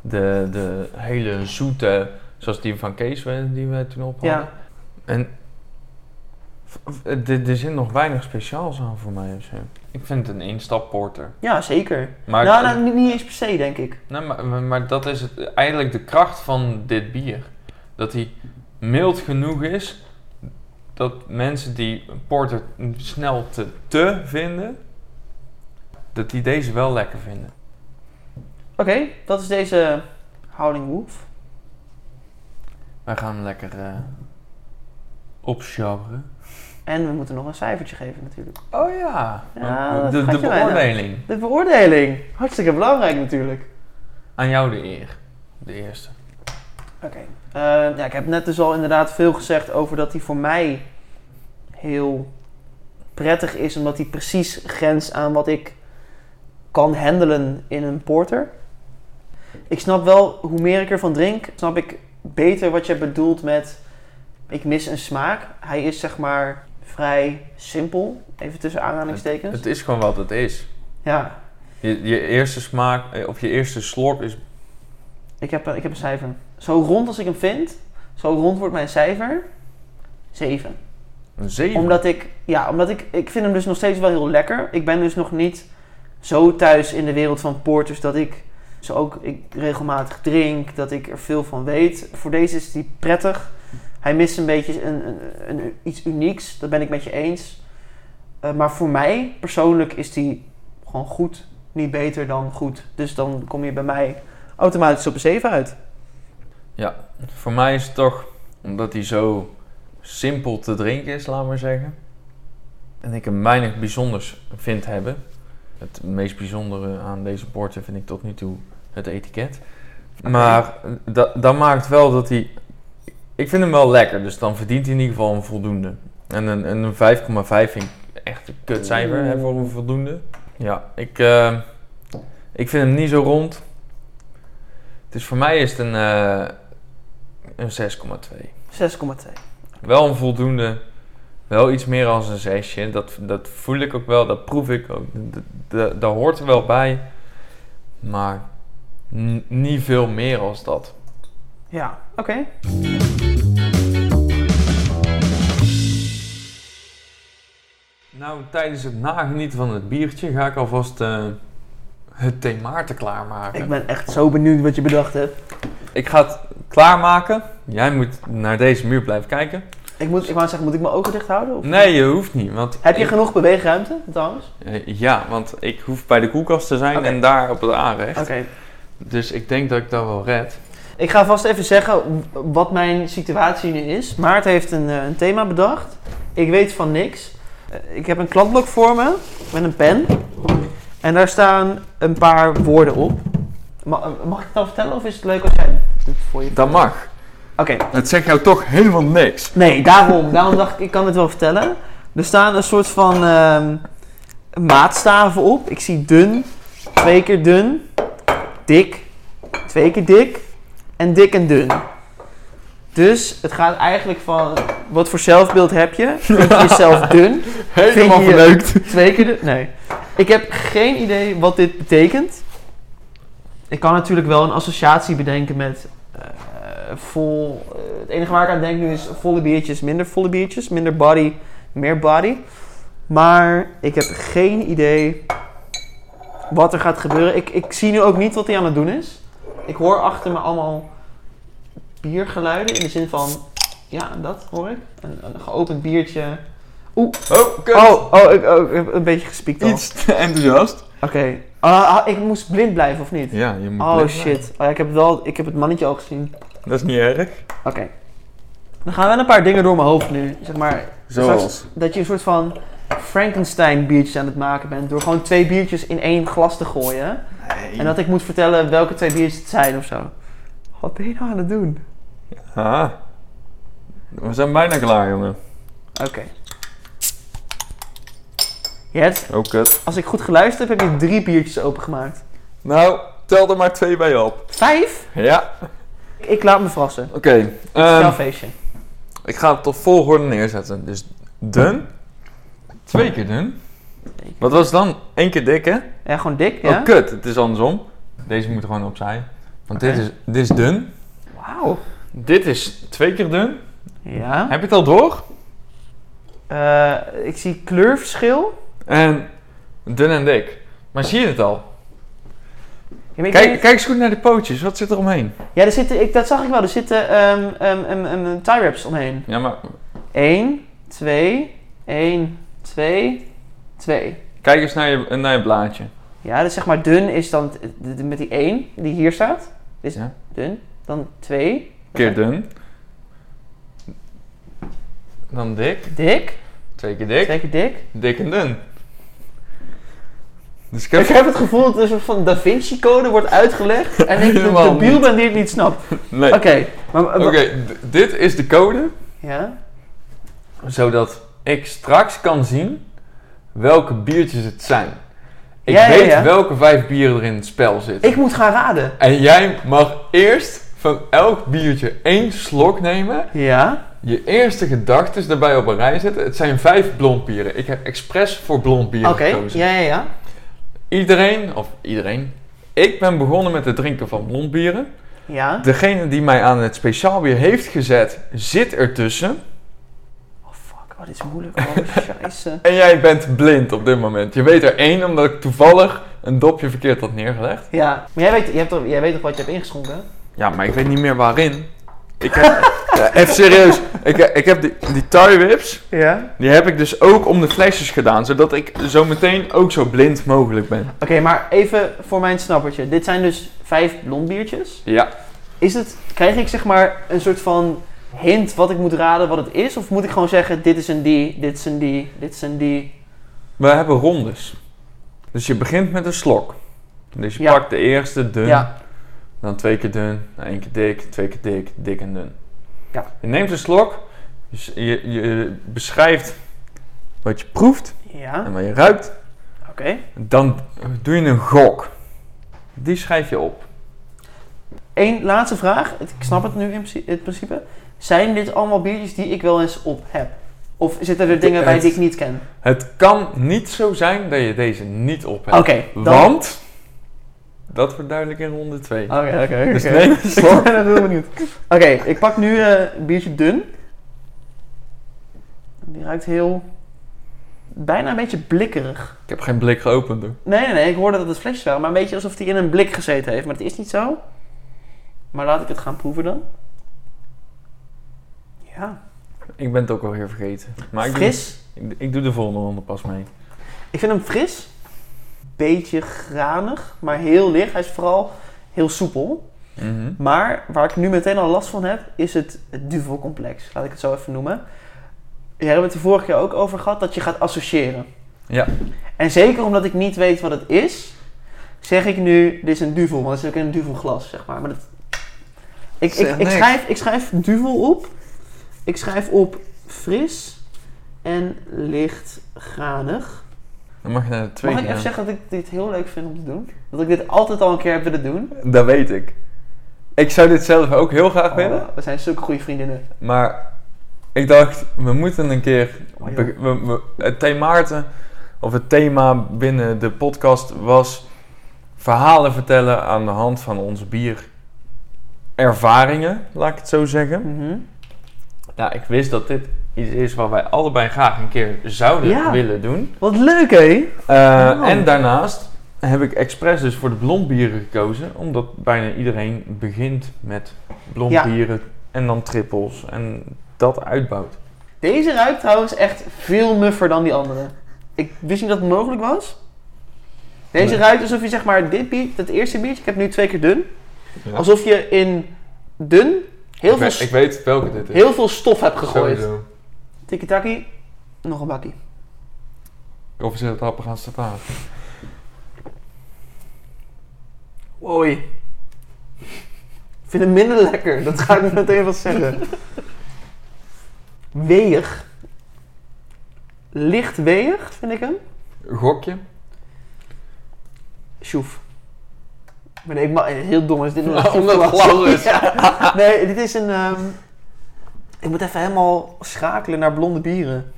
[SPEAKER 1] de, de hele zoete, zoals die van Kees we- die we toen op hadden.
[SPEAKER 2] Ja.
[SPEAKER 1] En v- v- er er zit nog weinig speciaals aan voor mij. of zo. Ik vind het een instap porter.
[SPEAKER 2] Ja, zeker.
[SPEAKER 1] Maar,
[SPEAKER 2] nou, nou, niet- niet eens per se, denk ik.
[SPEAKER 1] Nee, maar, maar- maar dat is het, eigenlijk de kracht van dit bier. Dat hij mild genoeg is dat mensen die porter snel te te vinden, dat die deze wel lekker vinden.
[SPEAKER 2] Oké, dat is deze Howling Wolf.
[SPEAKER 1] Wij gaan hem lekker eh opsjabberen.
[SPEAKER 2] En we moeten nog een cijfertje geven, natuurlijk.
[SPEAKER 1] Oh ja, Oh,
[SPEAKER 2] Ja, dat
[SPEAKER 1] de, de
[SPEAKER 2] vergat je bijna.
[SPEAKER 1] beoordeling.
[SPEAKER 2] De beoordeling. Hartstikke belangrijk, natuurlijk.
[SPEAKER 1] Aan jou de eer. De eerste.
[SPEAKER 2] Oké. Eh, ja, ik heb net dus al inderdaad veel gezegd over dat hij voor mij heel prettig is, omdat hij precies grenst aan wat ik kan handelen in een porter. Ik snap wel, hoe meer ik ervan drink, snap ik beter wat je bedoelt met ik mis een smaak. Hij is zeg maar vrij simpel, even tussen aanhalingstekens.
[SPEAKER 1] Het is gewoon wat het is.
[SPEAKER 2] Ja,
[SPEAKER 1] Je, je eerste smaak, eh, of je eerste slok is
[SPEAKER 2] Ik heb, een- ik heb een cijfer. Zo rond als ik hem vind, zo rond wordt mijn cijfer 7.
[SPEAKER 1] een 7.
[SPEAKER 2] Omdat ik, ja, omdat ik, ik vind hem dus nog steeds wel heel lekker. Ik ben dus nog niet zo thuis in de wereld van porters dat ik ze ook ik regelmatig drink, dat ik er veel van weet. Voor deze is die prettig. Hij mist een beetje een, een, een- iets unieks, dat ben ik met je eens. Eh, maar voor mij persoonlijk is die gewoon goed, niet beter dan goed. Dus dan kom je bij mij automatisch op een 7 uit.
[SPEAKER 1] Voor mij is het toch, omdat hij zo simpel te drinken is, laat maar zeggen. En ik hem weinig bijzonders vind hebben. Het meest bijzondere aan deze porter vind ik tot nu toe het etiket. Maar eh, da- dat maakt wel dat hij... Ik vind hem wel lekker, dus dan verdient hij in ieder geval een voldoende. En een, en een 5,5 vind ik echt een kutcijfer hè, voor een voldoende. Ja, ik, eh, ik vind hem niet zo rond. Dus voor mij is het een, eh, een 6,2.
[SPEAKER 2] 6,2.
[SPEAKER 1] Wel een voldoende. Wel iets meer dan een zesje. Dat, dat voel ik ook wel, dat proef ik ook. Dat, dat, dat hoort er wel bij. Maar n- niet veel meer als dat.
[SPEAKER 2] Ja, oké.
[SPEAKER 1] Nou, tijdens het nagenieten van het biertje ga ik alvast eh het themaarten klaarmaken.
[SPEAKER 2] Ik ben echt zo benieuwd wat je bedacht hebt.
[SPEAKER 1] Ik ga het klaarmaken. Jij moet naar deze muur blijven kijken.
[SPEAKER 2] Ik, moet, ik wou zeggen, moet ik mijn ogen dicht houden? Of
[SPEAKER 1] Nee, je hoeft niet. Want
[SPEAKER 2] Heb je
[SPEAKER 1] ik-
[SPEAKER 2] genoeg beweegruimte trouwens?
[SPEAKER 1] Eh, Ja, want ik hoef bij de koelkast te zijn
[SPEAKER 2] Oké.
[SPEAKER 1] en daar op het aanrecht.
[SPEAKER 2] Oké.
[SPEAKER 1] Dus ik denk dat ik dat wel red.
[SPEAKER 2] Ik ga vast even zeggen wat mijn situatie nu is. Maarten heeft een, eh, een thema bedacht. Ik weet van niks. Eh, Ik heb een kladblok voor me met een pen. En daar staan een paar woorden op. Ma- mag ik het dan vertellen of is het leuk als jij het voor je...
[SPEAKER 1] Dat mag.
[SPEAKER 2] Oké,
[SPEAKER 1] Het zegt jou toch helemaal niks.
[SPEAKER 2] nee, daarom. Daarom dacht ik, ik kan het wel vertellen. Er staan een soort van ehm, maatstaven op. Ik zie dun, twee keer dun, dik, twee keer dik en dik en dun. Dus het gaat eigenlijk van wat voor zelfbeeld heb je? Vind je jezelf dun?
[SPEAKER 1] Helemaal
[SPEAKER 2] Vind je-
[SPEAKER 1] verneukt.
[SPEAKER 2] Twee keer dun? Nee. Ik heb geen idee wat dit betekent. Ik kan natuurlijk wel een associatie bedenken met eh, vol. eh, het enige waar ik aan denk nu is volle biertjes, minder volle biertjes, minder body, meer body. Maar ik heb geen idee wat er gaat gebeuren. Ik, ik zie nu ook niet wat hij aan het doen is. Ik hoor achter me allemaal biergeluiden in de zin van. Ja, dat hoor ik. Een, een geopend biertje.
[SPEAKER 1] Oh, kut.
[SPEAKER 2] Oh, oh, ik, oh, ik heb een beetje gespiekt al.
[SPEAKER 1] Iets te enthousiast.
[SPEAKER 2] Oké. Ah, ah, ik moest blind blijven, of niet?
[SPEAKER 1] Ja, je moet
[SPEAKER 2] Oh
[SPEAKER 1] blind
[SPEAKER 2] shit. Oh, ja, ik, heb het wel, ik heb het mannetje al gezien.
[SPEAKER 1] blijven. Dat is niet erg.
[SPEAKER 2] Oké. Dan gaan we een paar dingen door mijn hoofd nu. Zeg maar
[SPEAKER 1] Zoals.
[SPEAKER 2] dat je een soort van Frankenstein biertjes aan het maken bent. Door gewoon twee biertjes in één glas te gooien.
[SPEAKER 1] Nee.
[SPEAKER 2] En dat ik moet vertellen welke twee biertjes het zijn of zo. Wat ben je nou aan het doen?
[SPEAKER 1] Ah. We zijn bijna klaar, jongen.
[SPEAKER 2] Oké. Je hebt,
[SPEAKER 1] Oh, kut.
[SPEAKER 2] als ik goed geluisterd heb, heb je drie biertjes opengemaakt.
[SPEAKER 1] Nou, tel er maar twee bij op.
[SPEAKER 2] Vijf?
[SPEAKER 1] Ja.
[SPEAKER 2] Ik laat me verrassen.
[SPEAKER 1] Oké. ehm,
[SPEAKER 2] Snel feestje.
[SPEAKER 1] ik ga het op volgorde neerzetten. Dus dun. Twee keer dun. Wat was het dan? Eén keer dik, hè?
[SPEAKER 2] Ja, gewoon dik, ja?
[SPEAKER 1] Oh, kut. Het is andersom. Deze moet gewoon opzij. Want
[SPEAKER 2] Oké.
[SPEAKER 1] dit, is, dit is dun.
[SPEAKER 2] Wauw.
[SPEAKER 1] Dit is twee keer dun.
[SPEAKER 2] Ja.
[SPEAKER 1] Heb je het al door?
[SPEAKER 2] Eh, ik zie kleurverschil.
[SPEAKER 1] En dun en dik. Maar zie je het al?
[SPEAKER 2] Ja, maar ik
[SPEAKER 1] Kijk,
[SPEAKER 2] weet-
[SPEAKER 1] kijk eens goed naar de pootjes. Wat zit er omheen?
[SPEAKER 2] ja er zitten, ik, dat zag ik wel. Er zitten ehm ehm, ehm, ehm, tie wraps omheen.
[SPEAKER 1] Ja, maar
[SPEAKER 2] 1, 2, 1, 2, 2.
[SPEAKER 1] kijk eens naar je, naar je blaadje.
[SPEAKER 2] Ja, dus zeg maar dun is dan t- d- d- met die 1 die hier staat. Is
[SPEAKER 1] Ja.
[SPEAKER 2] dun. Dan 2.
[SPEAKER 1] Keer dun. Dan dik.
[SPEAKER 2] Dik.
[SPEAKER 1] Twee keer dik.
[SPEAKER 2] Twee keer dik.
[SPEAKER 1] Dik en dun. Dus ik
[SPEAKER 2] Ik
[SPEAKER 1] heb...
[SPEAKER 2] heb het gevoel dat er een soort van Da Vinci code wordt uitgelegd. En ik de
[SPEAKER 1] Helemaal
[SPEAKER 2] debiel
[SPEAKER 1] niet.
[SPEAKER 2] ben die het niet snapt. Oké.
[SPEAKER 1] Nee. Oké,
[SPEAKER 2] Maar, maar-
[SPEAKER 1] d- dit is de code.
[SPEAKER 2] Ja.
[SPEAKER 1] Zodat ik straks kan zien welke biertjes het zijn. Ik
[SPEAKER 2] Ja, ja,
[SPEAKER 1] weet
[SPEAKER 2] ja.
[SPEAKER 1] welke vijf bieren er in het spel zitten.
[SPEAKER 2] Ik moet gaan raden.
[SPEAKER 1] En jij mag eerst van elk biertje één slok nemen.
[SPEAKER 2] Ja.
[SPEAKER 1] Je eerste gedachten daarbij op een rij zetten. Het zijn vijf blond bieren. Ik heb expres voor blond bier
[SPEAKER 2] Oké.
[SPEAKER 1] gekozen.
[SPEAKER 2] Ja, ja, ja.
[SPEAKER 1] Iedereen, of iedereen. Ik ben begonnen met het drinken van blond bieren.
[SPEAKER 2] Ja.
[SPEAKER 1] Degene die mij aan het speciaal bier heeft gezet, zit ertussen.
[SPEAKER 2] Oh fuck, oh, dit is moeilijk. Oh, scheisse.
[SPEAKER 1] En jij bent blind op dit moment. Je weet er één omdat ik toevallig een dopje verkeerd had neergelegd.
[SPEAKER 2] Ja, maar jij weet, jij, hebt toch, jij weet toch wat je hebt ingeschonken? hè?
[SPEAKER 1] Ja, maar ik weet niet meer waarin. Ik heb, Ja, even serieus. Ik, ik heb die, die tie whips.
[SPEAKER 2] Ja.
[SPEAKER 1] Die heb ik dus ook om de flesjes gedaan, zodat ik zo meteen ook zo blind mogelijk ben.
[SPEAKER 2] Oké, maar even voor mijn snappertje. Dit zijn dus vijf blond biertjes.
[SPEAKER 1] Ja.
[SPEAKER 2] Is het, krijg ik zeg maar een soort van hint wat ik moet raden wat het is? Of moet ik gewoon zeggen, dit is een die, dit is een die, dit is een die?
[SPEAKER 1] We hebben rondes. Dus je begint met een slok. Dus je
[SPEAKER 2] Ja.
[SPEAKER 1] pakt de eerste dun,
[SPEAKER 2] Ja.
[SPEAKER 1] dan twee keer dun, dan één keer dik, twee keer dik, dik en dun.
[SPEAKER 2] Ja.
[SPEAKER 1] Je neemt een slok, dus je, je beschrijft wat je proeft
[SPEAKER 2] Ja,
[SPEAKER 1] en wat je ruikt.
[SPEAKER 2] oké.
[SPEAKER 1] Dan doe je een gok. Die schrijf je op.
[SPEAKER 2] Eén laatste vraag. Ik snap het nu in princi- in principe. Zijn dit allemaal biertjes die ik wel eens op heb? Of zitten er dingen bij die ik niet ken?
[SPEAKER 1] Het kan niet zo zijn dat je deze niet op hebt.
[SPEAKER 2] Oké, dan-
[SPEAKER 1] Want, dat wordt duidelijk in ronde 2.
[SPEAKER 2] Oké, oké,
[SPEAKER 1] Dus
[SPEAKER 2] oké.
[SPEAKER 1] neem een slok.
[SPEAKER 2] Ik ben heel benieuwd. Oké, ik pak nu eh, een biertje dun. Die ruikt heel... Bijna een beetje blikkerig.
[SPEAKER 1] Ik heb geen blik geopend hoor.
[SPEAKER 2] Nee, nee, nee. Ik hoorde dat het flesjes waren. Maar een beetje alsof die in een blik gezeten heeft. Maar dat is niet zo. Maar laat ik het gaan proeven dan. Ja.
[SPEAKER 1] Ik ben het ook alweer vergeten. Maar ik
[SPEAKER 2] fris.
[SPEAKER 1] Doe, ik, ik doe de volgende ronde pas mee.
[SPEAKER 2] Ik vind hem fris. Beetje granig, maar heel licht. Hij is vooral heel soepel.
[SPEAKER 1] Mhm.
[SPEAKER 2] Maar waar ik nu meteen al last van heb, is het, het duvelcomplex. Laat ik het zo even noemen. Jij hebt het de vorige keer ook over gehad dat je gaat associëren.
[SPEAKER 1] Ja.
[SPEAKER 2] En zeker omdat ik niet weet wat het is, zeg ik nu, dit is een duvel. Want het is ook in een duvelglas, zeg maar. maar dat, ik,
[SPEAKER 1] Zeg
[SPEAKER 2] ik, ik,
[SPEAKER 1] niks.
[SPEAKER 2] schrijf, ik schrijf duvel op. Ik schrijf op fris en licht granig.
[SPEAKER 1] Dan mag je naar de tweede.
[SPEAKER 2] Mag ik even
[SPEAKER 1] gaan.
[SPEAKER 2] zeggen dat ik dit heel leuk vind om te doen? Dat ik dit altijd al een keer heb willen doen.
[SPEAKER 1] Dat weet ik. Ik zou dit zelf ook heel graag willen.
[SPEAKER 2] Oh, we zijn zulke goede vriendinnen.
[SPEAKER 1] Maar ik dacht, we moeten een keer.
[SPEAKER 2] Oh, joh.
[SPEAKER 1] be- we- we- het thema Maarten, of het thema binnen de podcast was verhalen vertellen aan de hand van onze bierervaringen, laat ik het zo zeggen.
[SPEAKER 2] Mhm.
[SPEAKER 1] Nou, ik wist dat dit iets is wat wij allebei graag een keer zouden
[SPEAKER 2] Ja.
[SPEAKER 1] willen doen.
[SPEAKER 2] Wat leuk, hé?
[SPEAKER 1] Eh,
[SPEAKER 2] Oh.
[SPEAKER 1] En daarnaast heb ik expres dus voor de blondbieren gekozen, omdat bijna iedereen begint met blondbieren en dan trippels en dat uitbouwt.
[SPEAKER 2] Deze ruikt trouwens echt veel muffer dan die andere. Ik wist niet dat het mogelijk was. Deze
[SPEAKER 1] Nee.
[SPEAKER 2] ruikt alsof je zeg maar dit bier, dat eerste biertje, ik heb nu twee keer dun.
[SPEAKER 1] Ja.
[SPEAKER 2] Alsof je in dun heel,
[SPEAKER 1] ik,
[SPEAKER 2] veel,
[SPEAKER 1] weet,
[SPEAKER 2] s-
[SPEAKER 1] ik weet welke dit is.
[SPEAKER 2] heel veel stof hebt gegooid.
[SPEAKER 1] Sowieso.
[SPEAKER 2] Tiki-taki, nog een bakkie.
[SPEAKER 1] Of is het happen gaan staan?
[SPEAKER 2] Oei. Ik vind hem minder lekker, dat ga ik meteen wat zeggen. Weeg. Licht weeg, vind ik hem.
[SPEAKER 1] Gokje?
[SPEAKER 2] Sjoef. Maar nee, ik ma- heel dom is dit nog
[SPEAKER 1] Oh, omdat het glas is.
[SPEAKER 2] Ja. Nee, dit is een... ehm, ik moet even helemaal schakelen naar blonde bieren.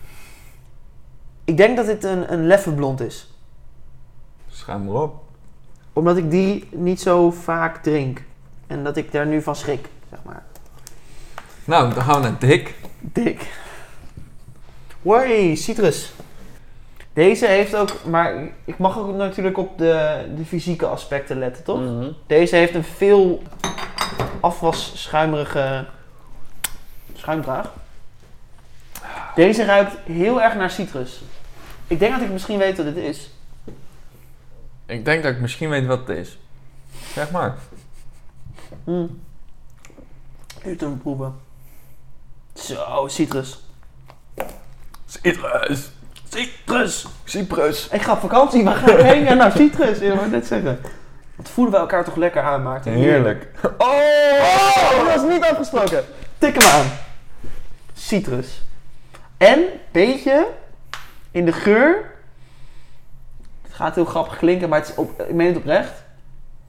[SPEAKER 2] Ik denk dat dit een, een leffe blond is.
[SPEAKER 1] Schuim maar op.
[SPEAKER 2] Omdat ik die niet zo vaak drink. En dat ik daar nu van schrik, zeg maar.
[SPEAKER 1] Nou, dan gaan we naar dik.
[SPEAKER 2] Dik. Hoi, citrus. Deze heeft ook... Maar ik mag ook natuurlijk op de, de fysieke aspecten letten, toch? Deze heeft een veel afwasschuimerige schuimdraag. Deze ruikt heel erg naar citrus. Ik denk dat ik misschien weet wat dit is.
[SPEAKER 1] Ik denk dat ik misschien weet wat het is. Zeg maar.
[SPEAKER 2] Hmm. Even hem proeven. Zo, citrus.
[SPEAKER 1] Citrus!
[SPEAKER 2] Citrus!
[SPEAKER 1] Cyprus!
[SPEAKER 2] Ik ga op vakantie, maar ga ik heen Ja, naar citrus? Ik wou net zeggen. Wat voelen we elkaar toch lekker aan, Maarten?
[SPEAKER 1] Heerlijk.
[SPEAKER 2] Oh! oh, dat was niet afgesproken. Tik hem aan. Citrus. En beetje in de geur. Het gaat heel grappig klinken, maar het is op, ik meen het oprecht.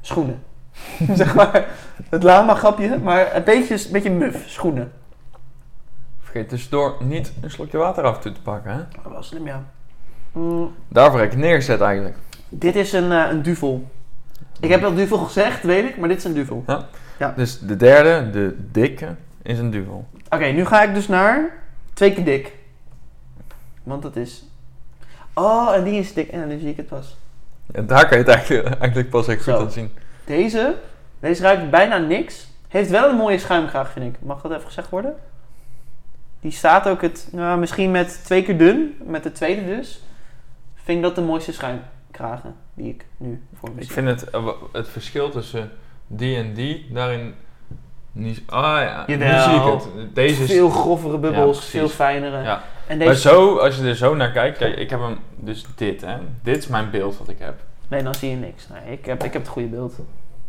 [SPEAKER 2] Schoenen. zeg maar, het lama grapje, maar een beetje, een beetje muf, schoenen.
[SPEAKER 1] Vergeet tussendoor niet een slokje water af en toe te pakken, hè?
[SPEAKER 2] Dat was slim, ja. Mm,
[SPEAKER 1] Daarvoor heb ik het neergezet eigenlijk.
[SPEAKER 2] dit is een, eh, een duvel. Ik heb wel duvel gezegd, weet ik, maar dit is een duvel.
[SPEAKER 1] Dus de derde, de dikke, is een duvel.
[SPEAKER 2] Oké, nu ga ik dus naar twee keer dik. Want dat is. Oh, en die is dik. En dan zie ik het pas.
[SPEAKER 1] En daar kan je het eigenlijk, eigenlijk pas echt goed
[SPEAKER 2] Zo.
[SPEAKER 1] aan zien.
[SPEAKER 2] Deze, deze ruikt bijna niks. Heeft wel een mooie schuimkraag, vind ik. Mag dat even gezegd worden? Die staat ook het, nou, misschien met twee keer dun, met de tweede dus. Vind ik dat de mooiste schuimkragen die ik nu voor me
[SPEAKER 1] Ik
[SPEAKER 2] zie.
[SPEAKER 1] vind het, eh, wa- het verschil tussen die en die daarin niet. Ah ja, nu
[SPEAKER 2] Jawel.
[SPEAKER 1] zie ik het. Deze is.
[SPEAKER 2] Veel grovere bubbels,
[SPEAKER 1] precies.
[SPEAKER 2] veel fijnere.
[SPEAKER 1] Ja.
[SPEAKER 2] En
[SPEAKER 1] Maar
[SPEAKER 2] deze,
[SPEAKER 1] zo, als je er zo naar kijkt, kijk, ik heb hem. Dus dit, hè? Dit is mijn beeld wat ik heb.
[SPEAKER 2] nee, dan zie je niks. Nee, ik, heb, ik heb het goede beeld.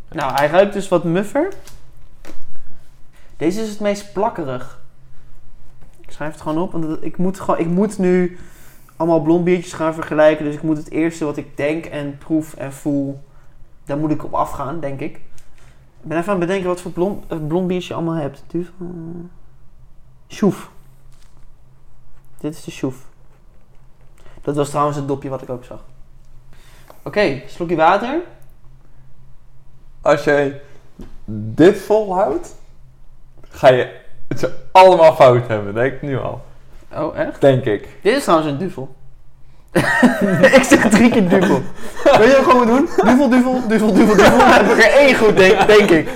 [SPEAKER 2] Nou, hij ruikt dus wat muffer. Deze is het meest plakkerig. Ik schrijf het gewoon op, want het- ik moet, gewoon, ik moet nu allemaal blond biertjes gaan vergelijken. Dus ik moet het eerste wat ik denk en proef en voel, daar moet ik op afgaan, denk ik. Ik ben even aan het bedenken wat voor blond, eh, blond biertje je allemaal hebt. Duvel. Sjoef. Dit is de sjoef. Dat was trouwens het dopje wat ik ook zag. Oké, slokje water.
[SPEAKER 1] Als jij dit volhoudt, ga je het allemaal fout hebben, denk ik nu al.
[SPEAKER 2] Oh, echt?
[SPEAKER 1] Denk ik.
[SPEAKER 2] Dit is trouwens een duvel. ik zeg drie keer duvel. Weet je wat ik gewoon moet doen? Duvel, duvel, duvel, duvel, duvel. Dan heb ik er één goed, denk, denk ik.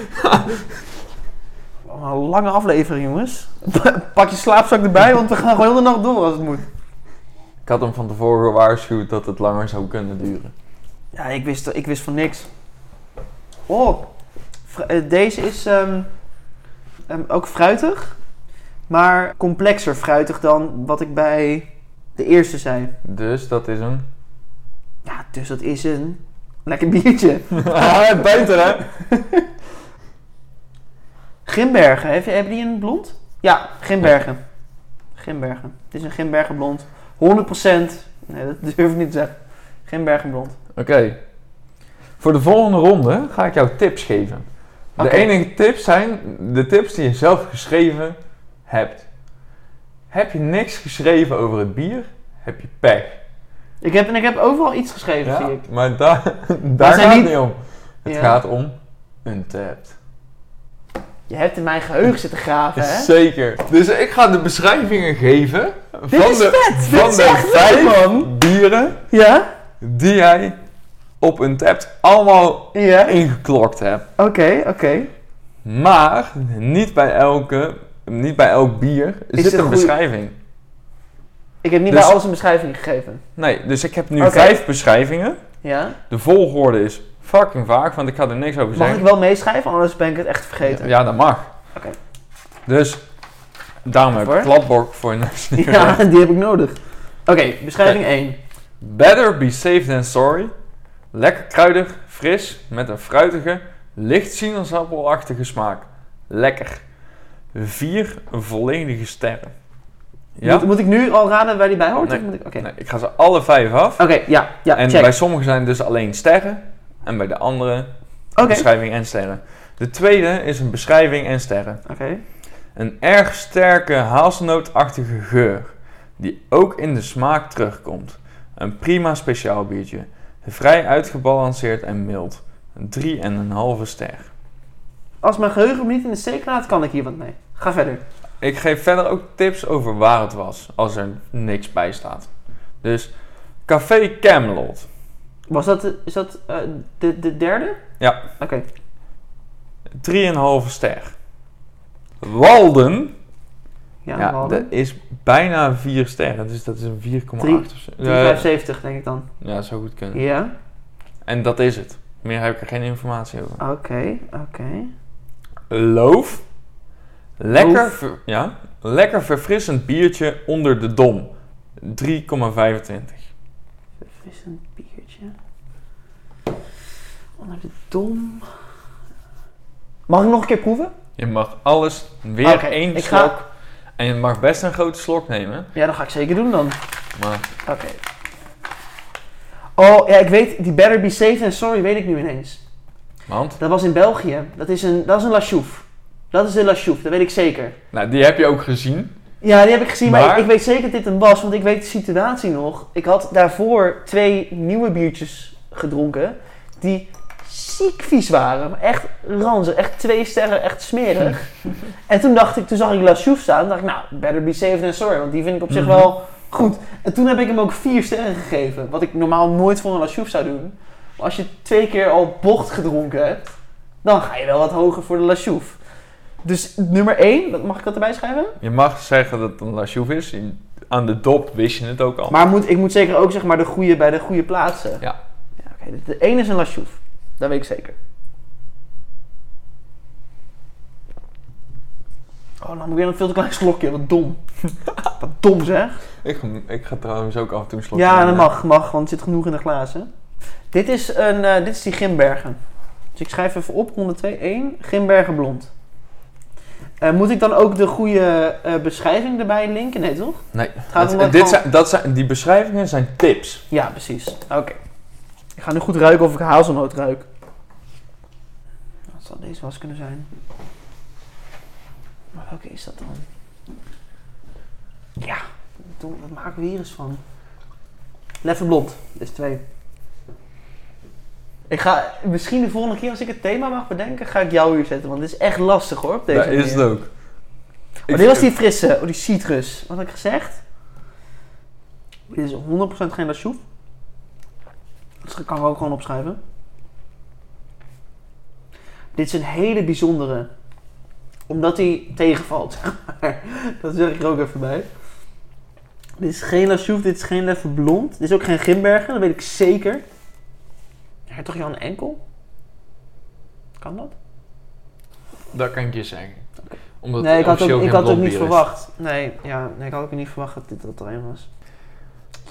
[SPEAKER 2] Oh, een lange aflevering, jongens. Pak je slaapzak erbij, want we gaan gewoon heel de nacht door als het moet.
[SPEAKER 1] Ik had hem van tevoren gewaarschuwd dat het langer zou kunnen duren.
[SPEAKER 2] Ja, ik wist, ik wist van niks. Oh, fr- eh, deze is ehm, ehm, ook fruitig, maar complexer fruitig dan wat ik bij de eerste zei.
[SPEAKER 1] Dus dat is een...
[SPEAKER 2] Ja, dus dat is een lekker biertje.
[SPEAKER 1] Ah, Beter hè?
[SPEAKER 2] Grimbergen, heeft, hebben die een blond? Ja, Grimbergen. Grimbergen. Het is een Grimbergen blond. 100%. Nee, dat durf ik niet te zeggen. Grimbergen blond.
[SPEAKER 1] Oké. Voor de volgende ronde ga ik jou tips geven. De
[SPEAKER 2] Oké.
[SPEAKER 1] enige tips zijn de tips die je zelf geschreven hebt. Heb je niks geschreven over het bier, heb je pech.
[SPEAKER 2] Ik heb, en ik heb overal iets geschreven,
[SPEAKER 1] Ja,
[SPEAKER 2] zie ik.
[SPEAKER 1] maar daar- daar
[SPEAKER 2] zijn
[SPEAKER 1] gaat het
[SPEAKER 2] niet-
[SPEAKER 1] niet om. Het
[SPEAKER 2] Ja.
[SPEAKER 1] gaat om een tap.
[SPEAKER 2] Je hebt in mijn geheugen zitten graven, hè?
[SPEAKER 1] Zeker. Dus ik ga de beschrijvingen geven van
[SPEAKER 2] Dit is
[SPEAKER 1] de,
[SPEAKER 2] vet!
[SPEAKER 1] van
[SPEAKER 2] Dit is
[SPEAKER 1] de
[SPEAKER 2] echt vet,
[SPEAKER 1] vijf
[SPEAKER 2] man!
[SPEAKER 1] bieren
[SPEAKER 2] Ja?
[SPEAKER 1] die jij op een tap allemaal
[SPEAKER 2] Ja?
[SPEAKER 1] ingeklokt hebt.
[SPEAKER 2] Oké, oké.
[SPEAKER 1] Maar niet bij, elke, niet bij elk bier
[SPEAKER 2] het
[SPEAKER 1] zit een
[SPEAKER 2] goed?
[SPEAKER 1] beschrijving.
[SPEAKER 2] Ik heb niet
[SPEAKER 1] Dus-
[SPEAKER 2] bij alles een beschrijving gegeven.
[SPEAKER 1] Nee, dus ik heb nu
[SPEAKER 2] Oké.
[SPEAKER 1] vijf beschrijvingen.
[SPEAKER 2] Ja?
[SPEAKER 1] De volgorde is fucking vaag, want ik ga er niks over
[SPEAKER 2] Mag ik
[SPEAKER 1] zeggen.
[SPEAKER 2] wel meeschrijven? Anders ben ik het echt vergeten.
[SPEAKER 1] Ja, dat mag.
[SPEAKER 2] Oké.
[SPEAKER 1] Dus daarom heb ik
[SPEAKER 2] Hoor.
[SPEAKER 1] klapbord voor je neus neergelegd.
[SPEAKER 2] Ja, die heb ik nodig. Oké, beschrijving 1.
[SPEAKER 1] Better be safe than sorry. Lekker kruidig, fris, met een fruitige, licht sinaasappelachtige smaak. Lekker. Vier volledige sterren. Ja?
[SPEAKER 2] Moet, moet ik nu al raden waar die bij hoort?
[SPEAKER 1] Nee.
[SPEAKER 2] Of moet ik- Oké,
[SPEAKER 1] Nee, ik ga ze alle vijf af.
[SPEAKER 2] Oké, ja, ja,
[SPEAKER 1] en
[SPEAKER 2] check.
[SPEAKER 1] bij sommigen zijn het dus alleen sterren. En bij de andere
[SPEAKER 2] Oké, oké.
[SPEAKER 1] beschrijving en sterren. De tweede is een beschrijving en sterren. Een erg sterke hazelnootachtige geur. Die ook in de smaak terugkomt. Een prima speciaal biertje. Vrij uitgebalanceerd en mild. Een drie en een halve ster.
[SPEAKER 2] Als mijn geheugen me niet in de steek laat, kan ik hier wat mee. Ga verder.
[SPEAKER 1] Ik geef verder ook tips over waar het was. Als er niks bij staat. Dus Café Camelot.
[SPEAKER 2] Was dat, de- is dat eh, de, de derde?
[SPEAKER 1] Ja.
[SPEAKER 2] Oké.
[SPEAKER 1] 3,5 ster. Walden, ja,
[SPEAKER 2] Ja, we hadden
[SPEAKER 1] dat is bijna 4 sterren, dus dat is een 4,8
[SPEAKER 2] Drie-
[SPEAKER 1] of zo. Eh,
[SPEAKER 2] 375 denk ik dan.
[SPEAKER 1] ja, dat zou goed kunnen.
[SPEAKER 2] Ja,
[SPEAKER 1] En dat is het. Meer heb ik er geen informatie over.
[SPEAKER 2] oké, oké.
[SPEAKER 1] Loof. Lekker,
[SPEAKER 2] Loof.
[SPEAKER 1] ver- ja, lekker verfrissend biertje onder de dom. 3,25.
[SPEAKER 2] Verfrissend biertje. Onder de dom. Mag ik nog een keer proeven?
[SPEAKER 1] Je mag alles weer
[SPEAKER 2] Oké,
[SPEAKER 1] één
[SPEAKER 2] ik
[SPEAKER 1] slok.
[SPEAKER 2] ga-
[SPEAKER 1] En je mag best een grote slok nemen.
[SPEAKER 2] Ja, dat ga ik zeker doen dan.
[SPEAKER 1] Maar
[SPEAKER 2] Oké. Oh, ja, ik weet, die Better Be Safe Than Sorry weet ik nu ineens.
[SPEAKER 1] want,
[SPEAKER 2] Dat was in België. Dat is een, dat is een La Chouffe. Dat is de La Chouffe, dat weet ik zeker.
[SPEAKER 1] nou, die heb je ook gezien.
[SPEAKER 2] Ja, die heb ik gezien, maar,
[SPEAKER 1] Maar-
[SPEAKER 2] ik, ik weet zeker dat dit hem was, want ik weet de situatie nog. Ik had daarvoor twee nieuwe biertjes gedronken, die ziek vies waren. Maar echt ranzig, echt twee sterren, echt smerig. en toen dacht ik, toen zag ik La Chouffe staan, en dacht ik, nou, better be safe than sorry, want die vind ik op zich
[SPEAKER 1] Mhm.
[SPEAKER 2] wel goed. En toen heb ik hem ook vier sterren gegeven, wat ik normaal nooit voor een La Chouffe zou doen. Maar als je twee keer al bocht gedronken hebt, dan ga je wel wat hoger voor de La Chouffe. Dus nummer 1, mag ik dat erbij schrijven?
[SPEAKER 1] Je mag zeggen dat het een La Chouffe is. Aan de dop wist je het ook al.
[SPEAKER 2] Maar moet, ik moet zeker ook zeg maar de goede bij de goede plaatsen.
[SPEAKER 1] Ja.
[SPEAKER 2] ja oké. De- De ene is een Lashouf. Dat weet ik zeker. Oh, dan moet ik weer een veel te klein slokje. Wat dom. Wat dom zeg.
[SPEAKER 1] Ik, ik ga trouwens ook af en toe een slokje
[SPEAKER 2] Ja, dat
[SPEAKER 1] nemen.
[SPEAKER 2] mag, mag, want er zit genoeg in de glazen. Dit is, een, eh, dit is die Grimbergen. Dus ik schrijf even op, ronde 2, 1, Grimbergen blond. Eh, moet ik dan ook de goede eh, beschrijving erbij linken? Nee, toch?
[SPEAKER 1] Nee,
[SPEAKER 2] gaat
[SPEAKER 1] dat,
[SPEAKER 2] om dat
[SPEAKER 1] dit
[SPEAKER 2] gewoon-
[SPEAKER 1] zijn, dat zijn, die beschrijvingen zijn tips.
[SPEAKER 2] Ja, precies. Oké. Ik ga nu goed ruiken of ik hazelnoot ruik. Wat zou deze was kunnen zijn? Maar welke is dat dan? Ja, doen- wat maken we hier eens van? Leffe blond, dus twee. Ik ga misschien de volgende keer als ik het thema mag bedenken, ga ik jou hier zetten. Want dit is echt lastig hoor, op deze
[SPEAKER 1] Daar is het
[SPEAKER 2] manier.
[SPEAKER 1] ook.
[SPEAKER 2] Maar dit was die frisse, oh, die citrus. Wat had ik gezegd? Dit is 100% geen lasjoef. Dus dat kan ik ook gewoon opschrijven. Dit is een hele bijzondere. Omdat hij tegenvalt, zeg maar. Dat zeg ik er ook even bij. Dit is geen Lassouf, dit is geen Leffe Blond. Dit is ook geen Grimbergen, dat weet ik zeker. Hertog Jan Enkel? Kan dat?
[SPEAKER 1] Dat kan ik je zeggen. Omdat
[SPEAKER 2] nee, ik had,
[SPEAKER 1] officieel
[SPEAKER 2] ook, ik
[SPEAKER 1] geen
[SPEAKER 2] had ook
[SPEAKER 1] blond
[SPEAKER 2] niet
[SPEAKER 1] bier is.
[SPEAKER 2] verwacht. Nee, ja, nee, ik had ook niet verwacht dat dit dat er een was.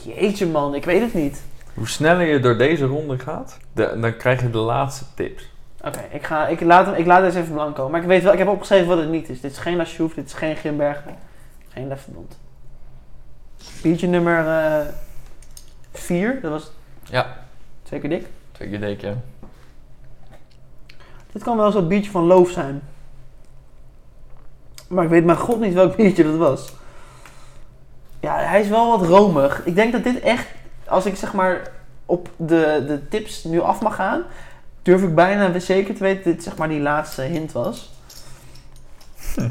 [SPEAKER 2] Jeetje man, ik weet het niet.
[SPEAKER 1] Hoe sneller je door deze ronde gaat, de- dan krijg je de laatste tips.
[SPEAKER 2] Oké, ik ga, ik, laat, hem- ik laat deze even blank komen. Maar ik weet wel, ik heb opgeschreven wat het niet is. Dit is geen Lasjouf, dit is geen Grimbergen, geen Leffenbond. Biertje nummer 4, dat was
[SPEAKER 1] Ja.
[SPEAKER 2] twee keer dik.
[SPEAKER 1] Twee keer deken.
[SPEAKER 2] Dit kan wel zo'n biertje van Loof zijn. Maar ik weet mijn god niet welk biertje dat was. Ja, hij is wel wat romig. Ik denk dat dit echt, als ik zeg maar op de, de tips nu af mag gaan, durf ik bijna zeker te weten dat dit zeg maar die laatste hint was.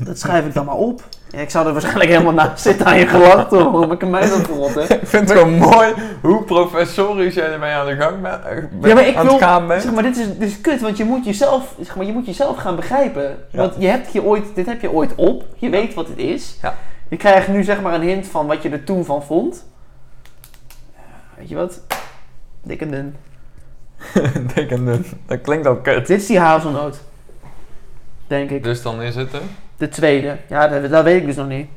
[SPEAKER 2] Dat schrijf ik dan maar op. Ja, ik zou er waarschijnlijk helemaal naast zitten aan je gelach, toch? Waarom heb ik mij dat verrot, hè?
[SPEAKER 1] Ik vind het wel mooi hoe professorisch jij ermee aan de gang bent. eh, bent-
[SPEAKER 2] Ja, maar ik
[SPEAKER 1] aan
[SPEAKER 2] wil-
[SPEAKER 1] het gaan bent.
[SPEAKER 2] Zeg maar, dit is, dit is kut, want je moet jezelf, zeg maar, je moet jezelf gaan begrijpen.
[SPEAKER 1] Ja.
[SPEAKER 2] Want je hebt je ooit, dit heb je ooit op, je weet wat het is.
[SPEAKER 1] Ja.
[SPEAKER 2] Je krijgt nu zeg maar een hint van wat je er toen van vond. Weet je wat? Dik en dun.
[SPEAKER 1] Dik en dun. Dat klinkt al kut.
[SPEAKER 2] Dit is die hazelnoot. Denk ik.
[SPEAKER 1] Dus dan is het er.
[SPEAKER 2] De tweede. Ja, dat, dat weet ik dus nog niet.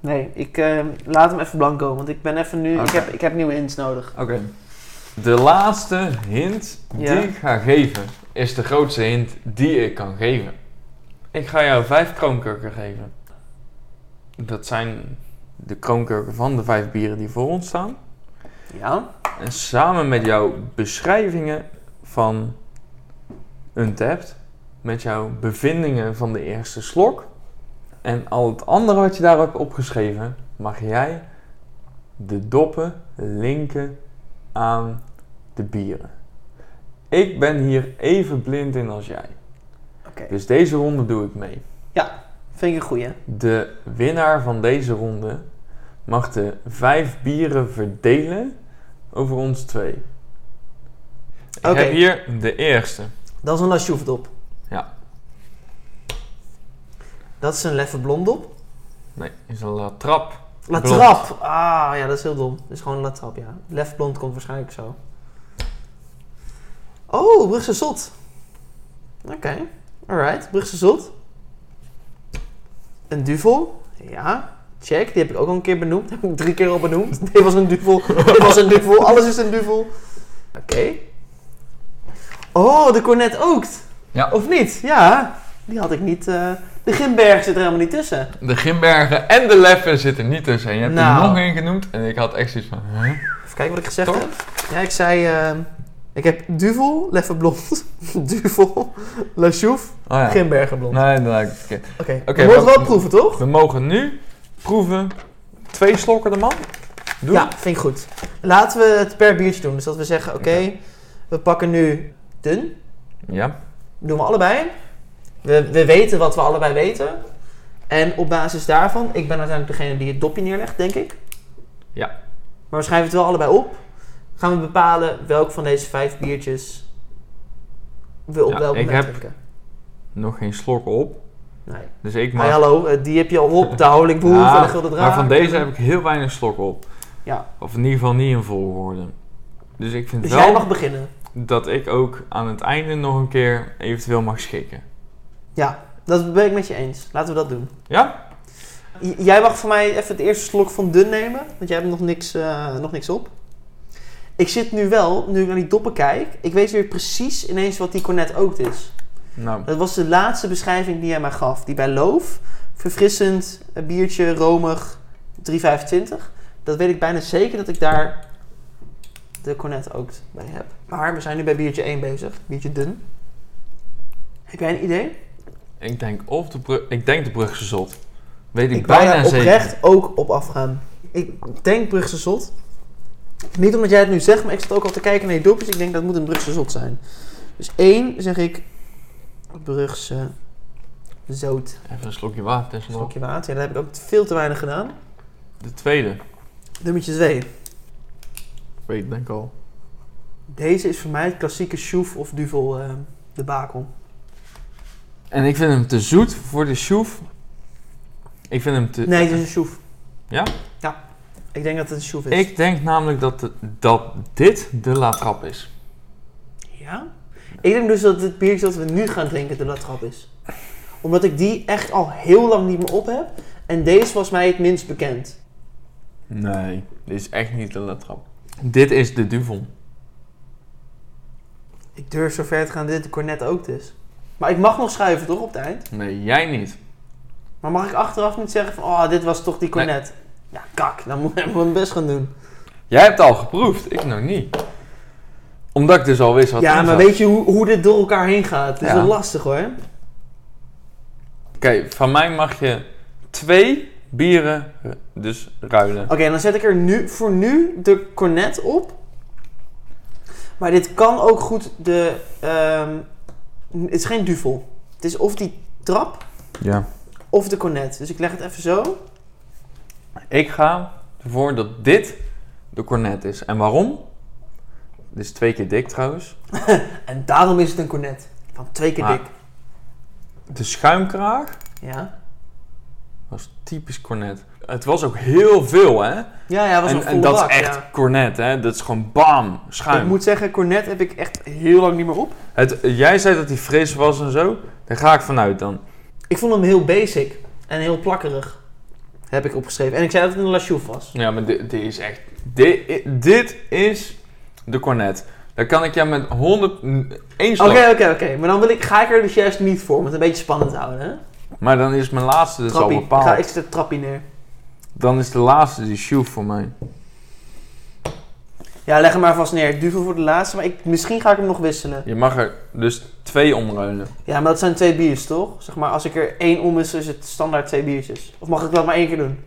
[SPEAKER 2] Nee, ik eh, laat hem even blanco, want ik ben even nu, ik,
[SPEAKER 1] Oké.
[SPEAKER 2] heb, ik heb nieuwe hints nodig.
[SPEAKER 1] Oké. De laatste hint
[SPEAKER 2] Ja.
[SPEAKER 1] die ik ga geven, is de grootste hint die ik kan geven. Ik ga jou vijf kroonkurken geven. Dat zijn de kroonkurken van de vijf bieren die voor ons staan.
[SPEAKER 2] Ja?
[SPEAKER 1] En samen met jouw beschrijvingen van Untapped, met jouw bevindingen van de eerste slok en al het andere wat je daar hebt opgeschreven, mag jij de doppen linken aan de bieren. Ik ben hier even blind in als jij.
[SPEAKER 2] Oké.
[SPEAKER 1] Dus deze ronde doe ik mee.
[SPEAKER 2] Vind ik een goeie.
[SPEAKER 1] De winnaar van deze ronde mag de vijf bieren verdelen over ons twee. Ik
[SPEAKER 2] Oké.
[SPEAKER 1] heb hier de eerste.
[SPEAKER 2] Dat is een lasjoefdop.
[SPEAKER 1] Ja.
[SPEAKER 2] Dat is een leffe blondop.
[SPEAKER 1] Nee, is een latrap. Blond.
[SPEAKER 2] Latrap. Ah, ja, dat is heel dom. Dat is gewoon een latrap, ja. Lef blond komt waarschijnlijk zo. Oh, Brugse Zot. Oké. Alright, Brugse Zot. Een duvel. Ja, check. Die heb ik ook al een keer benoemd. Heb ik drie keer al benoemd. Dit was een duvel. Dit was een duvel. Alles is een duvel. Oké. Oh, de cornet ookt.
[SPEAKER 1] Ja.
[SPEAKER 2] Of niet? Ja. Die had ik niet... eh, De Gimberg zit er helemaal niet tussen.
[SPEAKER 1] De Grimbergen en de Leffen zitten niet tussen. En je hebt
[SPEAKER 2] Nou.
[SPEAKER 1] er nog één genoemd en ik had echt zoiets van... Huh?
[SPEAKER 2] Even kijken wat ik gezegd
[SPEAKER 1] Toch?
[SPEAKER 2] heb. Ja, ik zei... ehm, ik heb Duvel, Leffe Blond, Duvel, La Chouf,
[SPEAKER 1] Oh ja.
[SPEAKER 2] Grimbergen Blond.
[SPEAKER 1] Nee, dat lijkt het verkeerd.
[SPEAKER 2] Oké,
[SPEAKER 1] Oké,
[SPEAKER 2] we moeten
[SPEAKER 1] wat-
[SPEAKER 2] wel proeven, toch?
[SPEAKER 1] We mogen nu proeven twee slokken de man. Doe.
[SPEAKER 2] Ja, vind ik goed. Laten we het per biertje doen. Dus dat we zeggen, oké, we pakken nu dun.
[SPEAKER 1] Ja.
[SPEAKER 2] Doen we allebei. We, we weten wat we allebei weten. En op basis daarvan, ik ben uiteindelijk degene die het dopje neerlegt, denk ik.
[SPEAKER 1] Ja.
[SPEAKER 2] Maar we schrijven het wel allebei op. Gaan we bepalen welk van deze vijf biertjes we op
[SPEAKER 1] Ja,
[SPEAKER 2] welk
[SPEAKER 1] ik
[SPEAKER 2] moment
[SPEAKER 1] heb-
[SPEAKER 2] drinken.
[SPEAKER 1] Nog geen slokken op.
[SPEAKER 2] Nee.
[SPEAKER 1] Dus ik
[SPEAKER 2] Maar
[SPEAKER 1] mag...
[SPEAKER 2] hallo, eh, die heb je al op, daar houding behoefte
[SPEAKER 1] Ja,
[SPEAKER 2] van de gulden draak.
[SPEAKER 1] Maar van deze heb ik heel weinig slokken op.
[SPEAKER 2] Ja.
[SPEAKER 1] Of in ieder geval niet in volgorde. Dus ik vind
[SPEAKER 2] Dus
[SPEAKER 1] wel
[SPEAKER 2] jij mag beginnen.
[SPEAKER 1] dat ik ook aan het einde nog een keer eventueel mag schikken.
[SPEAKER 2] Ja, dat ben ik met je eens. Laten we dat doen.
[SPEAKER 1] Ja?
[SPEAKER 2] J- jij mag voor mij even het eerste slok van dun nemen, want jij hebt nog niks, eh, nog niks op. Ik zit nu wel, nu ik naar die doppen kijk, ik weet weer precies ineens wat die cornet ook is.
[SPEAKER 1] Nou,
[SPEAKER 2] Dat was de laatste beschrijving die jij mij gaf. Die bij Loof, verfrissend, een biertje, romig, 3,25. Dat weet ik bijna zeker dat ik daar de cornet ook bij heb. Maar we zijn nu bij biertje 1 bezig. Biertje dun. Heb jij een idee?
[SPEAKER 1] ik denk of de brug... Ik denk de brugse zot. Weet ik,
[SPEAKER 2] wou
[SPEAKER 1] bijna
[SPEAKER 2] daar
[SPEAKER 1] zeker.
[SPEAKER 2] oprecht ook op afgaan. Ik denk Brugse Zot. Niet omdat jij het nu zegt, maar ik zat ook al te kijken naar je dopjes. Ik denk dat moet een Brugse Zot zijn. Dus 1 zeg ik Brugse Zoot.
[SPEAKER 1] Even een slokje water
[SPEAKER 2] Een
[SPEAKER 1] tussendoor.
[SPEAKER 2] slokje water. Ja, dat heb ik ook veel te weinig gedaan.
[SPEAKER 1] De tweede.
[SPEAKER 2] Nummertje 2.
[SPEAKER 1] Weet ik denk al.
[SPEAKER 2] Deze is voor mij het klassieke Sjoef of Duvel eh debakel.
[SPEAKER 1] En ik vind hem te zoet voor de sjoef. Ik vind hem te...
[SPEAKER 2] Nee, het is een sjoef.
[SPEAKER 1] Ja?
[SPEAKER 2] Ja. Ik denk dat het een sjoef is.
[SPEAKER 1] Ik denk namelijk dat, de- dat dit de La Trappe is.
[SPEAKER 2] Ja? Ik denk dus dat het biertje dat we nu gaan drinken de latrap is. Omdat ik die echt al heel lang niet meer op heb. En deze was mij het minst bekend.
[SPEAKER 1] Nee, dit is echt niet de La Trappe. Dit is de Duvel.
[SPEAKER 2] Ik durf zo ver te gaan dat dit de cornet ook is. Maar ik mag nog schuiven toch op het eind?
[SPEAKER 1] Nee, jij niet.
[SPEAKER 2] Maar mag ik achteraf niet zeggen van, oh, dit was toch die cornet? Ja, kak, dan moet ik mijn best gaan doen.
[SPEAKER 1] Jij hebt al geproefd, ik nog niet. Omdat ik dus al wist wat
[SPEAKER 2] ja,
[SPEAKER 1] erin
[SPEAKER 2] maar
[SPEAKER 1] zat.
[SPEAKER 2] weet je hoe, hoe dit door elkaar heen gaat? Het is
[SPEAKER 1] Ja.
[SPEAKER 2] wel lastig hoor.
[SPEAKER 1] Oké, van mij mag je twee bieren eh, dus ruilen.
[SPEAKER 2] Oké, dan zet ik er nu voor nu de cornet op. Maar dit kan ook goed de. ehm, het is geen duvel. Het is of die trap
[SPEAKER 1] Ja.
[SPEAKER 2] of de cornet. Dus ik leg het even zo.
[SPEAKER 1] Ik ga ervoor dat dit de cornet is. En waarom? Dit is twee keer dik trouwens.
[SPEAKER 2] En daarom is het een cornet. Van twee keer
[SPEAKER 1] Maar-
[SPEAKER 2] dik.
[SPEAKER 1] De schuimkraag
[SPEAKER 2] Ja.
[SPEAKER 1] was typisch cornet. Het was ook heel veel, hè?
[SPEAKER 2] Ja, ja, was
[SPEAKER 1] en
[SPEAKER 2] een
[SPEAKER 1] en
[SPEAKER 2] volle
[SPEAKER 1] dat
[SPEAKER 2] bak,
[SPEAKER 1] is echt
[SPEAKER 2] ja.
[SPEAKER 1] cornet, hè? Dat is gewoon bam,
[SPEAKER 2] Ik
[SPEAKER 1] schuim.
[SPEAKER 2] moet zeggen, cornet heb ik echt heel lang niet meer op.
[SPEAKER 1] Het, jij zei dat hij fris was en zo. Daar ga ik vanuit dan.
[SPEAKER 2] Ik vond hem heel basic en heel plakkerig. Heb ik opgeschreven. En ik zei dat het een lachouf was.
[SPEAKER 1] Ja, maar dit, dit is echt. Dit, dit is de cornet. Daar kan ik jou met 100. n- één
[SPEAKER 2] Oké,
[SPEAKER 1] slag.
[SPEAKER 2] oké, oké. Maar dan wil ik, ga ik er dus juist niet voor, om het een beetje spannend te houden. Hè?
[SPEAKER 1] Maar dan is mijn laatste dus
[SPEAKER 2] Trappie.
[SPEAKER 1] al
[SPEAKER 2] Ik ga
[SPEAKER 1] bepaald.
[SPEAKER 2] ik zet de trappie neer.
[SPEAKER 1] Dan is de laatste die shoe voor mij.
[SPEAKER 2] Ja, leg hem maar vast neer. Duvel voor de laatste, maar ik, misschien ga ik hem nog wisselen.
[SPEAKER 1] Je mag er dus twee omruilen.
[SPEAKER 2] Ja, maar dat zijn twee biertjes, toch? Zeg maar, als ik er één omwissel, is het standaard twee biertjes. Of mag ik dat maar één keer doen?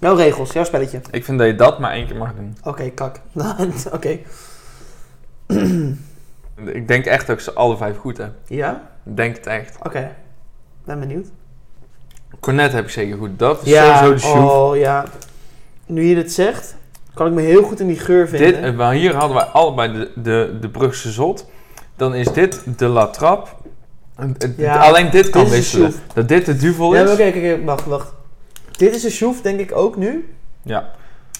[SPEAKER 2] Jouw regels, jouw spelletje.
[SPEAKER 1] Ik vind dat je dat maar één keer mag doen.
[SPEAKER 2] Oké, kak. Oké.
[SPEAKER 1] Ik denk echt dat ik ze alle vijf goed heb.
[SPEAKER 2] Ja?
[SPEAKER 1] Ik denk het echt.
[SPEAKER 2] Oké. Ben benieuwd.
[SPEAKER 1] Cornet heb ik zeker goed. Dat is
[SPEAKER 2] ja,
[SPEAKER 1] sowieso de shoe.
[SPEAKER 2] oh ja. Nu je dit zegt, kan ik me heel goed in die geur
[SPEAKER 1] Dit,
[SPEAKER 2] vinden.
[SPEAKER 1] eh, maar hier hadden wij allebei de, de, de Brugse Zot. Dan is dit de La Trappe. En- en-
[SPEAKER 2] Ja,
[SPEAKER 1] Alleen dit kan
[SPEAKER 2] dit is de
[SPEAKER 1] wisselen. Dat dit de duvel
[SPEAKER 2] ja,
[SPEAKER 1] is.
[SPEAKER 2] maar oké, oké, oké, wacht, wacht. Dit is een sjoef, denk ik ook nu.
[SPEAKER 1] Ja.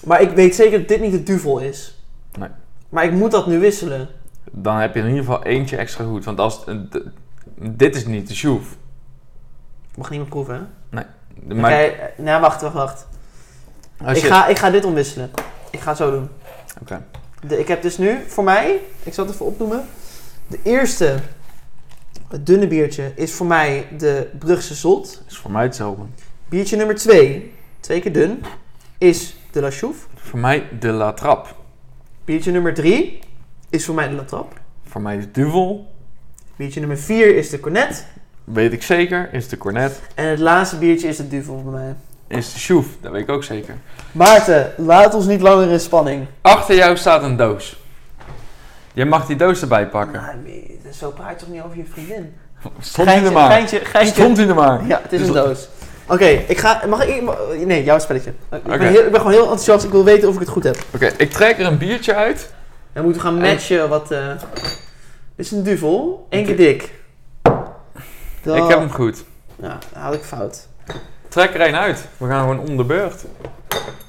[SPEAKER 2] Maar ik weet zeker dat dit niet de duvel is.
[SPEAKER 1] Nee.
[SPEAKER 2] Maar ik moet dat nu wisselen.
[SPEAKER 1] Dan heb je in ieder geval eentje extra goed. Want als, eh, d- dit is niet de sjoef.
[SPEAKER 2] Mag niemand proeven, hè?
[SPEAKER 1] Maar
[SPEAKER 2] Oké, eh, nou wacht, wacht, wacht.
[SPEAKER 1] als
[SPEAKER 2] Ik
[SPEAKER 1] je-
[SPEAKER 2] ga, ik ga dit omwisselen. Ik ga het zo doen.
[SPEAKER 1] Oké.
[SPEAKER 2] De, ik heb dus nu voor mij, ik zal het even opnoemen. De eerste, het dunne biertje, is voor mij de Brugse Zot.
[SPEAKER 1] is voor mij hetzelfde.
[SPEAKER 2] Biertje nummer twee, twee keer dun, is de La Chouf.
[SPEAKER 1] Voor mij de La Trappe.
[SPEAKER 2] Biertje nummer drie is voor mij de La Trap.
[SPEAKER 1] Voor mij de duvel.
[SPEAKER 2] Biertje nummer vier is de Cornet.
[SPEAKER 1] Weet ik zeker. Is de cornet.
[SPEAKER 2] En het laatste biertje is de Duvel bij mij.
[SPEAKER 1] Is de sjoef. Dat weet ik ook zeker.
[SPEAKER 2] Maarten, laat ons niet langer in spanning.
[SPEAKER 1] Achter jou staat een doos. Jij mag die doos erbij pakken.
[SPEAKER 2] Ah, Maar, zo praat je toch niet over je vriendin?
[SPEAKER 1] Stond hij er maar.
[SPEAKER 2] geintje, geintje.
[SPEAKER 1] Stond hij er maar.
[SPEAKER 2] Ja, het is een
[SPEAKER 1] Dus-
[SPEAKER 2] doos. Oké, ik ga. Mag ik. ma- Nee, jouw spelletje. Ik,
[SPEAKER 1] Oké.
[SPEAKER 2] ben heel, ik ben gewoon heel enthousiast. Ik wil weten of ik het goed heb.
[SPEAKER 1] Oké, ik trek er een biertje uit.
[SPEAKER 2] Dan moeten we gaan
[SPEAKER 1] En-
[SPEAKER 2] matchen wat. eh, Dit is een duvel. Eén keer
[SPEAKER 1] Ik-
[SPEAKER 2] dik. Dat-
[SPEAKER 1] Ik heb hem goed.
[SPEAKER 2] Nou, dat had ik fout.
[SPEAKER 1] Trek er één uit. We gaan gewoon om de beurt.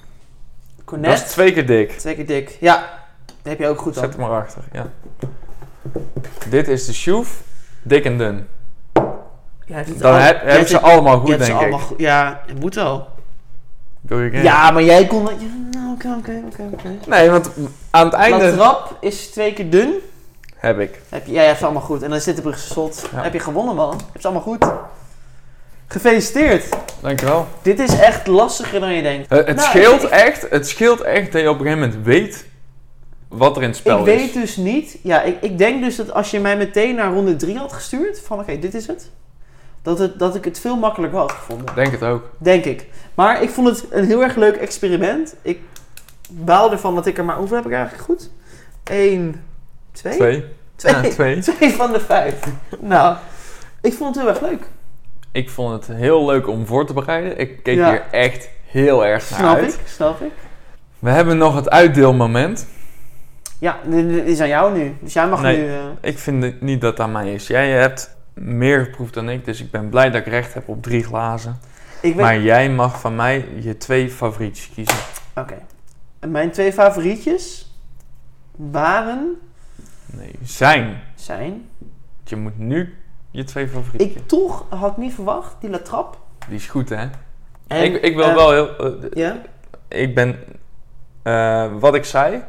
[SPEAKER 1] Dat is
[SPEAKER 2] Cornet.
[SPEAKER 1] twee keer dik.
[SPEAKER 2] Twee keer dik. Ja, dat heb je ook goed
[SPEAKER 1] Zet
[SPEAKER 2] dan.
[SPEAKER 1] hem maar achter, ja. Dit is de sjoef. Dik en dun.
[SPEAKER 2] Ja, hij heeft het
[SPEAKER 1] Dan
[SPEAKER 2] al-
[SPEAKER 1] heb,
[SPEAKER 2] jij
[SPEAKER 1] hebben
[SPEAKER 2] hebt
[SPEAKER 1] ze
[SPEAKER 2] het-
[SPEAKER 1] allemaal
[SPEAKER 2] jij
[SPEAKER 1] goed,
[SPEAKER 2] hebt ze
[SPEAKER 1] denk
[SPEAKER 2] allemaal
[SPEAKER 1] ik.
[SPEAKER 2] goed- Ja, het moet wel.
[SPEAKER 1] Doe ik
[SPEAKER 2] Ja,
[SPEAKER 1] in.
[SPEAKER 2] maar jij kon. dat- Ja, nou, oké, oké, oké, oké.
[SPEAKER 1] Nee, want aan het
[SPEAKER 2] De
[SPEAKER 1] einde
[SPEAKER 2] trap is twee keer dun.
[SPEAKER 1] heb ik.
[SPEAKER 2] Heb je, ja, jij hebt ze allemaal goed. En dan zit de Brugse slot.
[SPEAKER 1] Ja.
[SPEAKER 2] Heb je gewonnen, man. Je hebt ze allemaal goed. Gefeliciteerd.
[SPEAKER 1] Dankjewel. Eh,
[SPEAKER 2] Dit is echt lastiger dan je denkt.
[SPEAKER 1] Het, het
[SPEAKER 2] Nou,
[SPEAKER 1] scheelt
[SPEAKER 2] ik-
[SPEAKER 1] echt, het scheelt echt dat je op een gegeven moment weet wat er in het spel
[SPEAKER 2] ik
[SPEAKER 1] is.
[SPEAKER 2] weet dus niet. Ja, ik, ik denk dus dat als je mij meteen naar ronde 3 had gestuurd, van oké, dit is het. Dat, het. dat ik het veel makkelijker had gevonden.
[SPEAKER 1] Denk het ook.
[SPEAKER 2] Denk ik. Maar ik vond het een heel erg leuk experiment. Ik baal ervan dat ik er maar. Hoeveel heb ik eigenlijk goed? 1, 2?
[SPEAKER 1] Twee. Ja, twee.
[SPEAKER 2] Twee van de vijf. Nou, ik vond het heel erg leuk.
[SPEAKER 1] Ik vond het heel leuk om voor te bereiden. Ik keek
[SPEAKER 2] Ja.
[SPEAKER 1] hier echt heel erg naar
[SPEAKER 2] Snap
[SPEAKER 1] uit.
[SPEAKER 2] ik, snap ik.
[SPEAKER 1] We hebben nog het uitdeelmoment.
[SPEAKER 2] Ja, dit dit is aan jou nu. Dus jij mag
[SPEAKER 1] Nee.
[SPEAKER 2] nu. eh,
[SPEAKER 1] Ik vind het niet dat het aan mij is. Jij hebt meer geproefd dan ik, dus ik ben blij dat ik recht heb op drie glazen.
[SPEAKER 2] Ik weet,
[SPEAKER 1] Maar jij mag van mij je twee favorietjes kiezen.
[SPEAKER 2] Oké. En Mijn twee favorietjes waren,
[SPEAKER 1] Nee, zijn.
[SPEAKER 2] zijn...
[SPEAKER 1] Je moet nu je twee favorietjes.
[SPEAKER 2] Ik toch had niet verwacht, die Latrap.
[SPEAKER 1] Die is goed, hè?
[SPEAKER 2] En,
[SPEAKER 1] ik, ik wil
[SPEAKER 2] eh,
[SPEAKER 1] wel heel... eh,
[SPEAKER 2] Ja?
[SPEAKER 1] ik ben... eh, wat ik zei...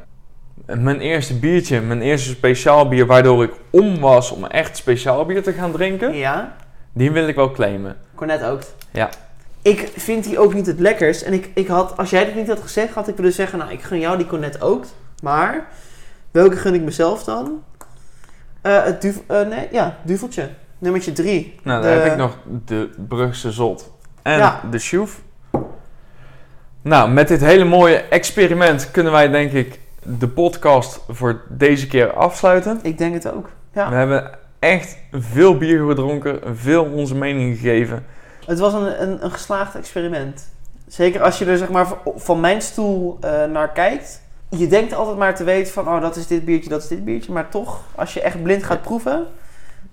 [SPEAKER 1] Mijn eerste biertje, mijn eerste speciaal bier... waardoor ik om was om echt speciaal bier te gaan drinken...
[SPEAKER 2] Ja,
[SPEAKER 1] die wil ik wel claimen.
[SPEAKER 2] Cornet ook.
[SPEAKER 1] Ja.
[SPEAKER 2] Ik vind die ook niet het lekkers. En ik, ik had, als jij dit niet had gezegd, had ik willen zeggen... Nou, ik gun jou die Cornet ook. Maar, welke gun ik mezelf dan? Eh, het duvel... eh, nee, ja, duveltje. Nummertje drie.
[SPEAKER 1] Nou,
[SPEAKER 2] De-
[SPEAKER 1] dan heb ik nog de Brugse Zot en
[SPEAKER 2] Ja.
[SPEAKER 1] de Sjoef. Nou, met dit hele mooie experiment kunnen wij denk ik de podcast voor deze keer afsluiten.
[SPEAKER 2] Ik denk het ook. Ja.
[SPEAKER 1] We hebben echt veel bier gedronken, veel onze mening gegeven.
[SPEAKER 2] Het was een, een, een geslaagd experiment. Zeker als je er zeg maar v- van mijn stoel eh, naar kijkt. Je denkt altijd maar te weten van, oh dat is dit biertje, dat is dit biertje. Maar toch, als je echt blind gaat proeven,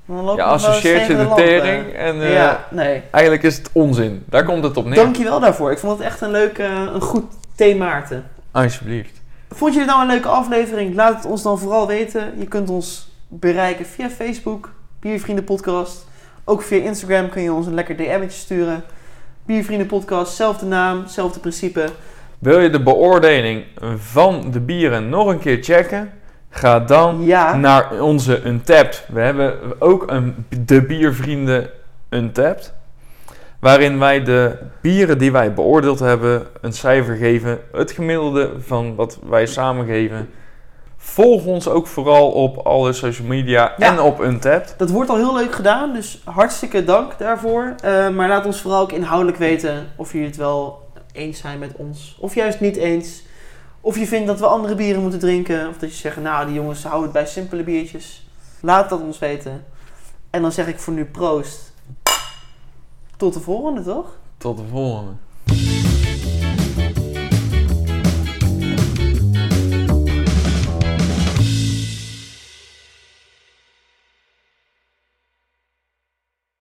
[SPEAKER 2] dan loop
[SPEAKER 1] Je
[SPEAKER 2] je nog wel eens
[SPEAKER 1] associeert je
[SPEAKER 2] tegen
[SPEAKER 1] de
[SPEAKER 2] lamp, eh.
[SPEAKER 1] tering en eh,
[SPEAKER 2] ja, nee.
[SPEAKER 1] eigenlijk is het onzin. Daar komt het op neer.
[SPEAKER 2] Dankjewel daarvoor. Ik vond het echt een leuk, eh, een goed thema, Maarten.
[SPEAKER 1] Alsjeblieft.
[SPEAKER 2] Vond je dit nou een leuke aflevering? Laat het ons dan vooral weten. Je kunt ons bereiken via Facebook, Biervrienden Podcast. Ook via Instagram kun je ons een lekker DM'tje sturen. Biervrienden Podcast, zelfde naam, zelfde principe.
[SPEAKER 1] Wil je de beoordeling van de bieren nog een keer checken? Ga dan
[SPEAKER 2] Ja,
[SPEAKER 1] naar onze Untapped. We hebben ook een, de Biervrienden Untapped. Waarin wij de bieren die wij beoordeeld hebben een cijfer geven. Het gemiddelde van wat wij samen geven. Volg ons ook vooral op alle social media
[SPEAKER 2] Ja.
[SPEAKER 1] en op Untapped.
[SPEAKER 2] dat wordt al heel leuk gedaan, dus hartstikke dank daarvoor. Eh, maar laat ons vooral ook inhoudelijk weten of jullie het wel eens zijn met ons. Of juist niet eens. Of je vindt dat we andere bieren moeten drinken. Of dat je zegt, nou die jongens houden het bij simpele biertjes. Laat dat ons weten. En dan zeg ik voor nu proost. Tot de volgende, toch?
[SPEAKER 1] Tot de volgende.